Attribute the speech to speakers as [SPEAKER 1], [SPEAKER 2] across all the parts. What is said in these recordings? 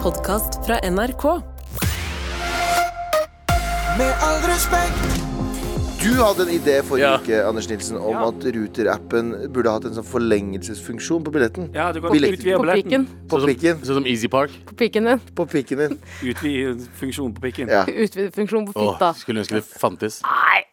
[SPEAKER 1] podkast fra NRK.
[SPEAKER 2] Med all respekt.
[SPEAKER 3] Du hadde en idé forrige
[SPEAKER 4] Ja.
[SPEAKER 3] uke Anders Nilsen, om
[SPEAKER 4] Ja.
[SPEAKER 3] at Ruter-appen burde hatt en sånn forlengelsesfunksjon på billetten.
[SPEAKER 4] Ja, du kan
[SPEAKER 3] Billett.
[SPEAKER 4] utvide
[SPEAKER 5] På
[SPEAKER 4] billetten.
[SPEAKER 5] pikken.
[SPEAKER 3] På
[SPEAKER 4] Sånn som-
[SPEAKER 3] pikken.
[SPEAKER 4] Sånn som Easy Park.
[SPEAKER 5] På pikken din.
[SPEAKER 3] På pikken din.
[SPEAKER 4] Utvide funksjonen på pikken.
[SPEAKER 3] Ja.
[SPEAKER 5] Utvidet funksjon på
[SPEAKER 4] Åh,
[SPEAKER 5] fitta.
[SPEAKER 4] skulle ønske det fantes.
[SPEAKER 5] Nei!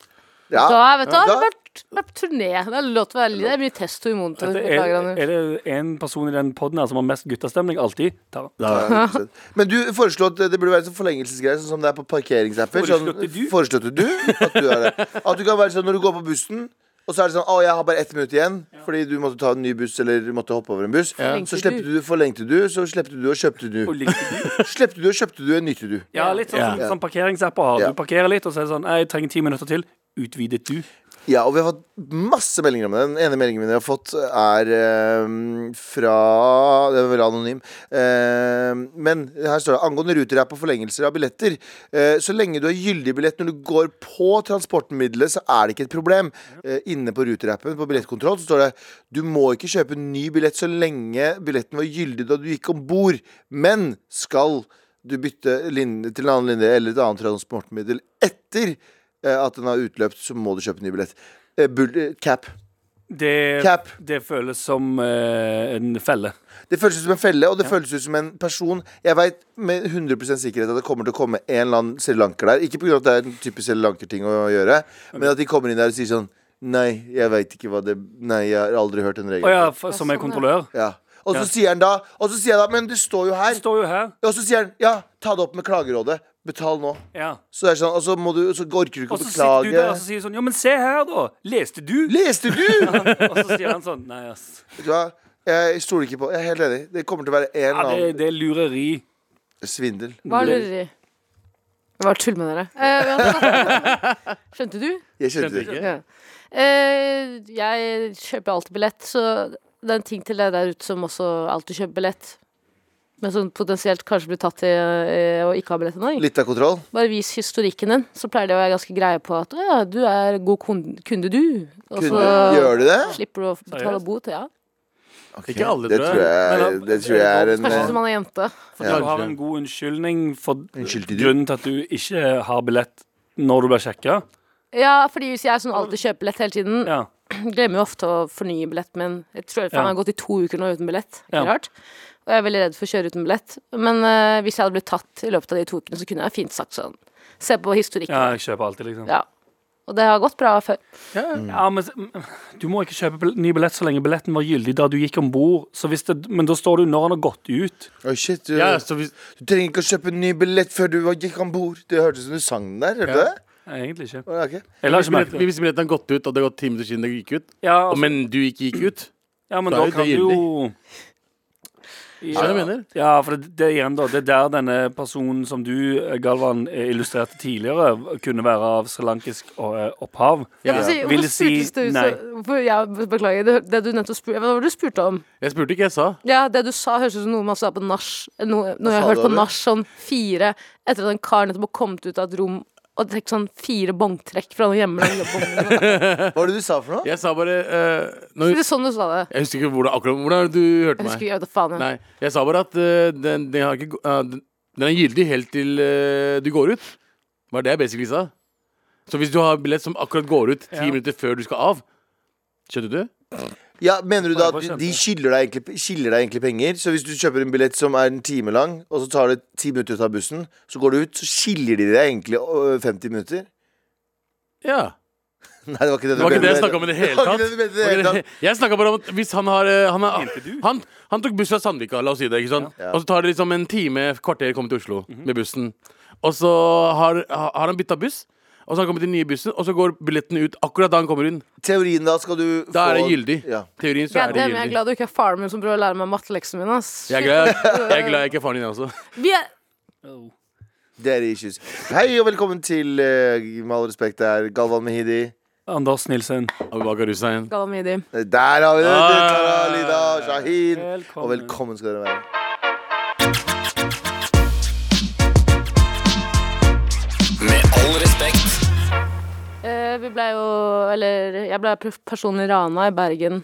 [SPEAKER 3] Ja.
[SPEAKER 5] Da vet du,
[SPEAKER 3] Ja,
[SPEAKER 5] har
[SPEAKER 3] da-
[SPEAKER 5] det vært, vært turné. Det er lov til å være Det er mye testo i monitor.
[SPEAKER 4] Dette er,
[SPEAKER 5] beklager, Anders.
[SPEAKER 4] er det en person i den poden her som har mest guttastemning alltid? Tara.
[SPEAKER 3] Ja, 100%. Men du foreslo at det burde være en sånn forlengelsesgreie, sånn som det er på parkeringsapper. Sånn,
[SPEAKER 4] Foreslåtte du?
[SPEAKER 3] foreslåtte du at du er det? At du kan være sånn når du går på bussen, og så er det sånn Å, jeg har bare ett minutt igjen, fordi du måtte ta en ny buss eller måtte hoppe over en buss.
[SPEAKER 5] Forlengte
[SPEAKER 3] Så slepte du, forlengte du, så slepte du og kjøpte du.
[SPEAKER 4] Og likte du?
[SPEAKER 3] Slepte du og kjøpte du en nytte du.
[SPEAKER 4] Ja, litt sånn som
[SPEAKER 3] Ja.
[SPEAKER 4] sånn parkeringsapp har.
[SPEAKER 3] Ja.
[SPEAKER 4] Du parkerer litt, og så er det sånn «Nei, Jeg trenger ti minutter til. Utvidet du?
[SPEAKER 3] Ja, og vi har fått masse meldinger om det. Den ene meldingen vi har fått, er eh, fra Den er veldig anonym. Eh, men her står det angående ruter her på forlengelser av billetter. eh, så lenge du har gyldig billett når du går på transportmiddelet, så er det ikke et problem. Eh, inne på Ruter-appen på billettkontroll så står det du må ikke kjøpe ny billett så lenge billetten var gyldig da du gikk om bord, men skal du bytte linje til en annen linje eller et annet transportmiddel etter eh, at den har utløpt, så må du kjøpe ny billett. Eh, Bull, eh, cap.
[SPEAKER 4] Det,
[SPEAKER 3] Cap.
[SPEAKER 4] det føles som eh, en felle.
[SPEAKER 3] Det føles ut som en felle, og det føles ut som en person Jeg veit med 100 sikkerhet at det kommer til å komme en eller annen srilanker der. Ikke pga. at det er en typisk srilankerting å gjøre, men at de kommer inn der og sier sånn Nei, jeg veit ikke hva det Nei, jeg har aldri hørt den
[SPEAKER 4] Å ja,
[SPEAKER 3] regelen.
[SPEAKER 4] f som en kontrollør.
[SPEAKER 3] Ja. Og så
[SPEAKER 4] Ja.
[SPEAKER 3] sier han da Og så sier han da Men det står jo her.
[SPEAKER 4] Det står jo her.
[SPEAKER 3] Og så sier han Ja, ta det opp med Klagerådet. Betal nå.
[SPEAKER 4] Ja.
[SPEAKER 3] Så det er sånn Og så, må du, så orker du ikke
[SPEAKER 4] Og
[SPEAKER 3] å
[SPEAKER 4] så sitter du der og så
[SPEAKER 3] beklage.
[SPEAKER 4] sier du sånn Ja, men se her, da! Leste du?
[SPEAKER 3] Leste du?!
[SPEAKER 4] Og så sier han sånn Nei, ass.
[SPEAKER 3] Vet du hva? Jeg stoler ikke på Jeg er helt enig. Det kommer til å være en
[SPEAKER 4] Ja,
[SPEAKER 3] eller
[SPEAKER 4] det,
[SPEAKER 3] annen
[SPEAKER 4] det er lureri.
[SPEAKER 3] svindel.
[SPEAKER 5] Hva er lureri? Hva er tull med dere? Eh, men- skjønte du?
[SPEAKER 3] Jeg skjønte det ikke.
[SPEAKER 5] Ja. Eh, jeg kjøper alltid billett, så det er en ting til deg der ute som også alltid kjøper billett. Men som potensielt kanskje blir tatt til eh, å ikke ha billett ennå.
[SPEAKER 3] Litt av kontroll.
[SPEAKER 5] Bare vis historikken din, så pleier det å være ganske greie på at «Å ja, du er god kun- kunde, du. Og
[SPEAKER 4] Altså-
[SPEAKER 3] Kunne,
[SPEAKER 5] så
[SPEAKER 3] Gjør du det?
[SPEAKER 5] slipper du å betale bot. Ja.
[SPEAKER 3] Ok,
[SPEAKER 4] Ikke alle,
[SPEAKER 3] det
[SPEAKER 4] tror
[SPEAKER 3] tror
[SPEAKER 4] jeg.
[SPEAKER 3] jeg,
[SPEAKER 4] Men da-
[SPEAKER 3] det tror jeg er en
[SPEAKER 5] Kanskje
[SPEAKER 4] sånn
[SPEAKER 3] eh,
[SPEAKER 5] hvis man er jente.
[SPEAKER 4] For
[SPEAKER 3] Ja.
[SPEAKER 4] du har en god unnskyldning for
[SPEAKER 3] Unnskyld til du.
[SPEAKER 4] grunnen til at du ikke har billett når du blir sjekka.
[SPEAKER 5] Ja, fordi hvis jeg er sånn alltid kjøper billett hele tiden,
[SPEAKER 4] Ja.
[SPEAKER 5] glemmer jo ofte å fornye billetten min. Jeg tror faen,
[SPEAKER 4] Ja.
[SPEAKER 5] jeg har gått i to uker nå uten billett. Ikke
[SPEAKER 4] Ja.
[SPEAKER 5] rart. Og jeg er veldig redd for å kjøre uten billett. Men eh, hvis jeg hadde blitt tatt i løpet av de to ukene, så kunne jeg fint sagt sånn. Se på
[SPEAKER 4] ja,
[SPEAKER 5] historikken.
[SPEAKER 4] jeg kjøper alltid, liksom.
[SPEAKER 5] Ja. Mm. Og det har gått bra før.
[SPEAKER 4] Ja, men s- Du må ikke kjøpe bill- ny billett så lenge billetten var gyldig da du gikk om bord. Men da står du når han har gått ut.
[SPEAKER 3] Oi, shit, du,
[SPEAKER 4] Ja, så hvis,
[SPEAKER 3] du trenger ikke å kjøpe en ny billett før du gikk om bord. Det hørtes ut som du sang den der. Hørte du det?
[SPEAKER 4] Nei, egentlig ikke.
[SPEAKER 3] Å, ok.
[SPEAKER 4] Jeg la ikke merke til det.
[SPEAKER 6] Hvis billetten har gått ut, og det har gått ti minutter siden det gikk ut,
[SPEAKER 4] Ja,
[SPEAKER 6] og,
[SPEAKER 4] altså,
[SPEAKER 6] men du ikke gikk ut
[SPEAKER 4] ja, men
[SPEAKER 6] da
[SPEAKER 4] da
[SPEAKER 6] er det
[SPEAKER 4] kan du jo
[SPEAKER 6] Skjønner du hva
[SPEAKER 4] ja.
[SPEAKER 6] jeg mener?
[SPEAKER 4] ja, for det, det er igjen da Det er der denne personen som du, eh, Galvan, eh, illustrerte tidligere, kunne være av srilankisk eh, opphav.
[SPEAKER 5] Jeg må si,
[SPEAKER 4] Ville
[SPEAKER 5] hvorfor
[SPEAKER 4] si
[SPEAKER 5] spurtes du
[SPEAKER 4] nei.
[SPEAKER 5] så hvorfor- ja, Beklager, det, det du nettopp spurte Hva var det du spurte om?
[SPEAKER 6] Jeg spurte ikke, jeg sa.
[SPEAKER 5] Ja, det du sa, høres ut som noe man sa på nach. Noe, noe
[SPEAKER 3] sa
[SPEAKER 5] jeg har hørt
[SPEAKER 3] du,
[SPEAKER 5] på
[SPEAKER 3] Abid?
[SPEAKER 5] nach sånn fire etter at en kar nettopp har kommet ut av et rom og trukket sånn fire bongtrekk fra noen hjemmelag.
[SPEAKER 3] Hva var det du sa for noe?
[SPEAKER 6] Jeg sa bare eh, nå,
[SPEAKER 5] Det er sånn du sa det.
[SPEAKER 6] Jeg husker ikke hvordan, akkurat hvordan er det du hørte
[SPEAKER 5] Jeg husker
[SPEAKER 6] meg.
[SPEAKER 5] ikke, jeg vet da faen.
[SPEAKER 6] Nei, Jeg sa bare at eh, den, den, har ikke, gå- eh, den- den er gyldig helt til eh, du går ut. Var det jeg basically sa. Så hvis du har billett som akkurat går ut ti
[SPEAKER 4] Ja.
[SPEAKER 6] minutter før du skal av Skjønner du?
[SPEAKER 3] Ja, mener du da
[SPEAKER 4] Bare for å
[SPEAKER 3] at
[SPEAKER 4] kjøpe.
[SPEAKER 3] de skylder deg, egentlig, skylder deg egentlig penger? Så hvis du kjøper en billett som er en time lang, og så tar det ti minutter å ta bussen, så går du ut, så skiller de deg egentlig øh, 50 minutter?
[SPEAKER 6] Ja.
[SPEAKER 3] Nei, det var ikke det
[SPEAKER 6] Det var ikke det jeg
[SPEAKER 3] mente.
[SPEAKER 6] snakka om i det
[SPEAKER 3] Det var ikke det du mente i
[SPEAKER 6] hele tatt. Det
[SPEAKER 3] det
[SPEAKER 6] var
[SPEAKER 3] hele
[SPEAKER 6] ikke det- Jeg snakka bare om at hvis han har eh, Han, har,
[SPEAKER 4] Mente du?
[SPEAKER 6] han, han tok buss fra Sandvika, la oss si det. ikke sant?
[SPEAKER 3] Ja.
[SPEAKER 6] Og så tar det liksom en time, et kvarter, komme til Oslo med bussen. Og så har, har har han bytta buss, og så har han kommet til den nye bussen, og så går billetten ut akkurat da han kommer inn.
[SPEAKER 3] Teorien da skal du
[SPEAKER 6] Da er det
[SPEAKER 3] få-
[SPEAKER 6] gyldig.
[SPEAKER 3] Ja.
[SPEAKER 6] Teorien så
[SPEAKER 5] Ja,
[SPEAKER 6] er
[SPEAKER 5] det
[SPEAKER 6] det
[SPEAKER 5] er, men jeg er
[SPEAKER 6] gyldig.
[SPEAKER 5] glad du ikke er faren min som prøver å lære meg matteleksene mine. ass.
[SPEAKER 6] Jeg er glad jeg er glad jeg ikke er faren din, jeg også.
[SPEAKER 5] Vi er,
[SPEAKER 3] Det er issues. Hei og velkommen til eh, Med all respekt, det er Galvan Mehidi.
[SPEAKER 4] Anders Nilsen.
[SPEAKER 6] Abubakar Hussein.
[SPEAKER 5] Galla Midi.
[SPEAKER 3] Der har vi det!
[SPEAKER 6] Ah.
[SPEAKER 3] Tara, Lida, Shahin.
[SPEAKER 4] Velkommen.
[SPEAKER 3] Og velkommen skal dere være.
[SPEAKER 2] Med all respekt.
[SPEAKER 5] Eh, vi ble jo Eller jeg ble pr- personlig rana i Bergen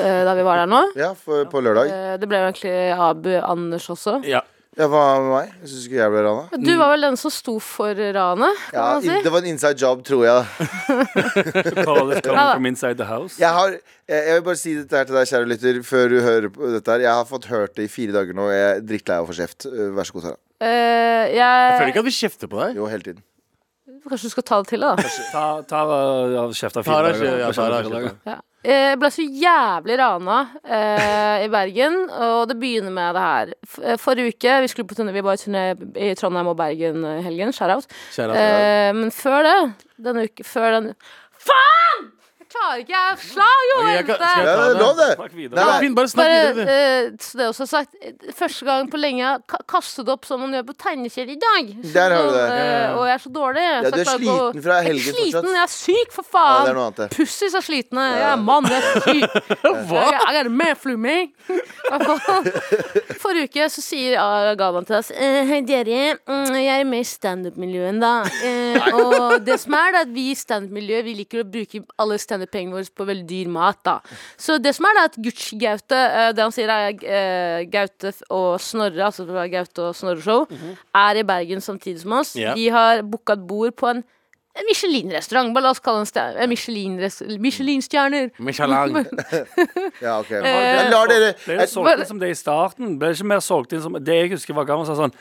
[SPEAKER 5] eh, da vi var der nå.
[SPEAKER 3] Ja, for, på lørdag.
[SPEAKER 5] Eh, det ble jo egentlig Abu Anders også.
[SPEAKER 6] Ja.
[SPEAKER 3] Ja, hva med meg? Jeg syns ikke jeg ble rana.
[SPEAKER 5] Men Du
[SPEAKER 6] Mm.
[SPEAKER 5] var vel den som sto for ranet, kan
[SPEAKER 3] Ja,
[SPEAKER 5] man si.
[SPEAKER 3] in- det var en inside job, tror jeg.
[SPEAKER 4] Call is
[SPEAKER 5] Ja, da.
[SPEAKER 4] coming from inside the house.
[SPEAKER 3] Jeg, har, jeg, jeg vil bare si dette her til deg, kjære lytter, før du hører på dette her. Jeg har fått hørt det i fire dager nå. og Jeg er drittlei av å få kjeft. Uh, Vær så god, Sara.
[SPEAKER 5] Eh,
[SPEAKER 6] Jeg føler
[SPEAKER 5] jeg
[SPEAKER 6] ikke at vi kjefter på deg.
[SPEAKER 3] Jo, hele tiden.
[SPEAKER 5] Kanskje du skal ta det til deg, da.
[SPEAKER 4] Ta- Tara har kjefta fire
[SPEAKER 6] Tara,
[SPEAKER 4] dager.
[SPEAKER 6] ja, Tara,
[SPEAKER 4] Kjefta fire dager.
[SPEAKER 5] Ja. Eh, Jeg ble så jævlig rana eh, i Bergen, og det begynner med det her. F- eh, Forrige uke vi, skulle på turné, vi var i turné i Trondheim og Bergen eh, helgen. Shout-out.
[SPEAKER 6] Kjære Tara.
[SPEAKER 5] Eh, men før det, denne uke Før den Faen! Jeg klarer ikke! Jeg slag jo!
[SPEAKER 6] Ok, jeg kan-
[SPEAKER 5] jente!
[SPEAKER 6] skal jeg-
[SPEAKER 3] Ja, det er lov, det!
[SPEAKER 4] Snakk videre.
[SPEAKER 3] Nei,
[SPEAKER 6] Ja,
[SPEAKER 3] nei.
[SPEAKER 6] fint, bare snakk
[SPEAKER 5] Bare,
[SPEAKER 6] videre,
[SPEAKER 5] eh, så det er også sagt eh, Første gang på lenge jeg har ka- kastet opp som man gjør på tegneserie i dag. Så
[SPEAKER 3] Der har du det.
[SPEAKER 5] eh, Og jeg er så dårlig.
[SPEAKER 3] Ja,
[SPEAKER 5] så
[SPEAKER 3] du
[SPEAKER 5] jeg
[SPEAKER 3] er
[SPEAKER 5] klarer ikke å-
[SPEAKER 3] sliten fra
[SPEAKER 5] Jeg er
[SPEAKER 3] helgen
[SPEAKER 5] sliten,
[SPEAKER 3] fortsatt.
[SPEAKER 5] jeg er syk, for
[SPEAKER 3] Ja,
[SPEAKER 5] faen!
[SPEAKER 3] det er noe annet, det.
[SPEAKER 5] Pussies er slitne. Jeg er mann, jeg er syk.
[SPEAKER 6] Hva?
[SPEAKER 5] Jeg, jeg er med fluming. Forrige uke så sier ja, Galvan til oss eh, Hei, dere. mm, Jeg er med i standup-miljøet, da. Eh, og det som er, det er at vi i standup-miljøet Vi liker å bruke alle standup-pengene våre på veldig dyr mat, da. Så det som er, det er at Gucci-Gaute eh, Det han sier, er eh, Gaute og Snorre, altså det var Gaute og Snorre Show,
[SPEAKER 4] Mhm.
[SPEAKER 5] er i Bergen samtidig som oss.
[SPEAKER 6] Ja.
[SPEAKER 5] De har booka et bord på en en Michelin-restaurant. Bare la oss kalle den sta- en Michelin-restaurant. Michelin-stjerner.
[SPEAKER 6] Michelin.
[SPEAKER 3] Ja, ok. Jeg lar dere
[SPEAKER 4] Ble
[SPEAKER 3] jeg,
[SPEAKER 4] det solgt inn som det i starten? Ble det ikke mer solgt inn som Det jeg husker var gammel, sa sånn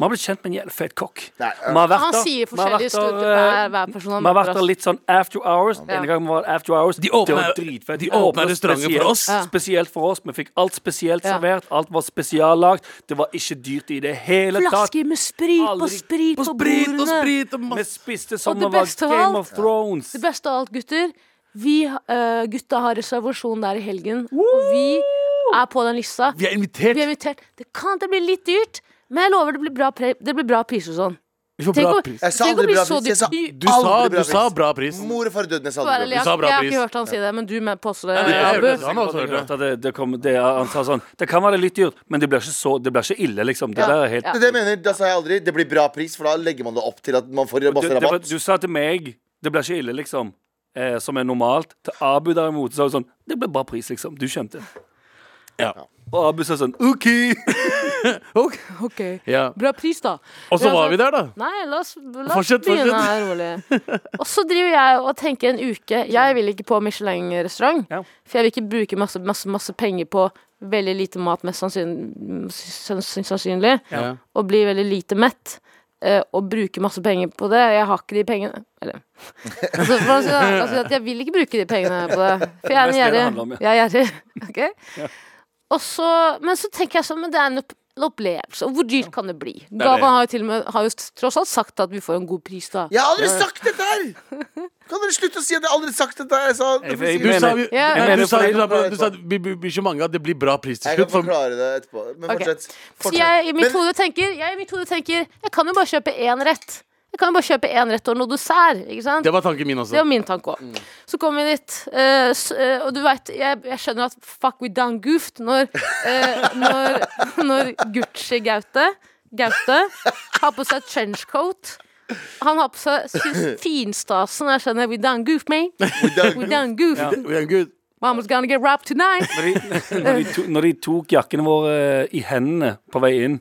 [SPEAKER 4] Vi har blitt kjent med en jævlig fet kokk.
[SPEAKER 3] Nei,
[SPEAKER 4] Vi har vært
[SPEAKER 5] Han
[SPEAKER 4] der-
[SPEAKER 5] sier
[SPEAKER 4] vi har vært
[SPEAKER 5] forskjellige historier
[SPEAKER 4] der, eh,
[SPEAKER 5] hver, hver person. han
[SPEAKER 4] Vi har vært
[SPEAKER 5] møter,
[SPEAKER 4] der
[SPEAKER 5] ass.
[SPEAKER 4] litt sånn after hours.
[SPEAKER 5] Ja.
[SPEAKER 4] Ene gangen var det after hours.
[SPEAKER 6] De åpna-
[SPEAKER 4] Det var dritfett.
[SPEAKER 6] de åpna restauranter for
[SPEAKER 4] spesielt-
[SPEAKER 6] oss.
[SPEAKER 5] Ja.
[SPEAKER 4] Spesielt for oss. Vi fikk alt spesielt
[SPEAKER 5] Ja.
[SPEAKER 4] servert. Alt var spesiallagt. Det var ikke dyrt i det hele tatt.
[SPEAKER 5] Flasker med sprit på
[SPEAKER 4] Aldri-
[SPEAKER 5] sprit på,
[SPEAKER 6] Og sprit og
[SPEAKER 5] bordene.
[SPEAKER 6] sprit og
[SPEAKER 4] Vi
[SPEAKER 6] masse
[SPEAKER 4] spiste som
[SPEAKER 5] Og
[SPEAKER 4] det
[SPEAKER 5] det
[SPEAKER 4] var
[SPEAKER 5] beste av alt-
[SPEAKER 4] Game of Thrones.
[SPEAKER 5] Det beste av alt, gutter. Vi eh, gutta har reservasjon der i helgen, og vi er på den lista.
[SPEAKER 6] Vi er invitert.
[SPEAKER 5] Vi er invitert. Det kan det blir litt dyrt, men jeg lover det blir bra, pre det blir bra priser og sånn.
[SPEAKER 6] Vi får
[SPEAKER 5] Tenk
[SPEAKER 6] bra
[SPEAKER 5] å,
[SPEAKER 6] pris.
[SPEAKER 3] Jeg sa
[SPEAKER 5] tenk å
[SPEAKER 3] aldri
[SPEAKER 5] bli
[SPEAKER 3] bra
[SPEAKER 5] så
[SPEAKER 3] pris. Jeg sa-
[SPEAKER 5] dyr.
[SPEAKER 6] Du sa,
[SPEAKER 3] aldri bra
[SPEAKER 6] du sa
[SPEAKER 3] pris.
[SPEAKER 6] bra pris.
[SPEAKER 3] Mor og far døde nesten
[SPEAKER 5] Være
[SPEAKER 3] aldri.
[SPEAKER 5] ærlig, Jeg,
[SPEAKER 6] sa bra
[SPEAKER 5] jeg har
[SPEAKER 6] pris.
[SPEAKER 5] ikke hørt han si det, men du med- påstår det.
[SPEAKER 6] Nei, nei, jeg
[SPEAKER 5] Abu.
[SPEAKER 6] hørte- han har også
[SPEAKER 4] Jeg
[SPEAKER 6] hørt det.
[SPEAKER 4] hørte at det, det, kom, det, han sa sånn Det kan være litt dyrt, men det blir ikke, så, det blir ikke ille, liksom. Det
[SPEAKER 5] Ja.
[SPEAKER 4] der er helt
[SPEAKER 5] Ja.
[SPEAKER 3] Det er det jeg mener, Da sa jeg aldri 'det blir bra pris', for da legger man det opp til at man får
[SPEAKER 4] du,
[SPEAKER 3] masse
[SPEAKER 4] det var,
[SPEAKER 3] sånn rabatt.
[SPEAKER 4] du sa til meg Det blir ikke ille, liksom. Eh, som er normalt. Til Abu derimot sa du sånn Det blir bra pris, liksom. Du skjønte.
[SPEAKER 6] Ja.
[SPEAKER 4] Og Abu sa sånn OK!
[SPEAKER 6] Ok.
[SPEAKER 5] Ok.
[SPEAKER 6] Ja.
[SPEAKER 5] Bra pris, da.
[SPEAKER 6] Og så var vi
[SPEAKER 5] altså.
[SPEAKER 6] der, da.
[SPEAKER 5] Nei, la oss, la oss
[SPEAKER 6] Fortsett,
[SPEAKER 5] begynne
[SPEAKER 6] fortsett.
[SPEAKER 5] her rolig. Og så driver jeg og tenker en uke Jeg vil ikke på Michelin-restaurant.
[SPEAKER 4] Ja.
[SPEAKER 5] For jeg vil ikke bruke masse, masse, masse penger på veldig lite mat, mest sannsyn, sann- sannsynlig.
[SPEAKER 6] Ja.
[SPEAKER 5] Og bli veldig lite mett. eh, Og bruke masse penger på det. Jeg har ikke de pengene Eller altså, for å si det, altså, at Jeg vil ikke bruke de pengene på det. For jeg er en
[SPEAKER 4] Det er det det handler om,
[SPEAKER 5] gjerrig. Jeg er gjerrig. ok? Og så, men så tenker jeg sånn Men det er en opp- en opplevelse. Og hvor dyrt kan det bli?
[SPEAKER 6] det.
[SPEAKER 5] Gavan har jo til og med har jo tross alt sagt at vi får en god pris, da.
[SPEAKER 3] Jeg har aldri sagt dette her! Kan dere slutte å si at jeg aldri har sagt dette? her? Jeg sa
[SPEAKER 4] Jeg-
[SPEAKER 3] Hvorfor sier
[SPEAKER 4] jeg-
[SPEAKER 6] Du sa, vi,
[SPEAKER 5] Ja.
[SPEAKER 6] nei, du sa, du sa,
[SPEAKER 3] Jeg-
[SPEAKER 6] du sa, vi vi blir så mange at det blir bra pris til
[SPEAKER 3] Jeg kan
[SPEAKER 6] slutt. For,
[SPEAKER 3] forklare det etterpå. Men
[SPEAKER 5] Ok.
[SPEAKER 3] fortsett.
[SPEAKER 5] Så
[SPEAKER 3] fortsett.
[SPEAKER 5] jeg i mitt
[SPEAKER 3] Men-
[SPEAKER 5] hode tenker Jeg i mitt hode tenker Jeg kan jo bare kjøpe én rett. Jeg kan jo bare kjøpe én rett og noe dessert. Ikke sant?
[SPEAKER 6] det var tanken min
[SPEAKER 5] Det var
[SPEAKER 6] også.
[SPEAKER 5] min tanke òg. Så kom vi dit, eh, s- eh, og du veit jeg, jeg skjønner at fuck we done goofed når, eh, når, når Gucci Gaute Gaute har på seg trenchcoat. Han har på seg sin finstasen. Jeg skjønner we done goofed, me. We done goofed.
[SPEAKER 6] Vi er good.
[SPEAKER 5] Mama's gonna get rapped tonight.
[SPEAKER 4] Når de, når, de to, når de tok jakkene våre i hendene på vei inn,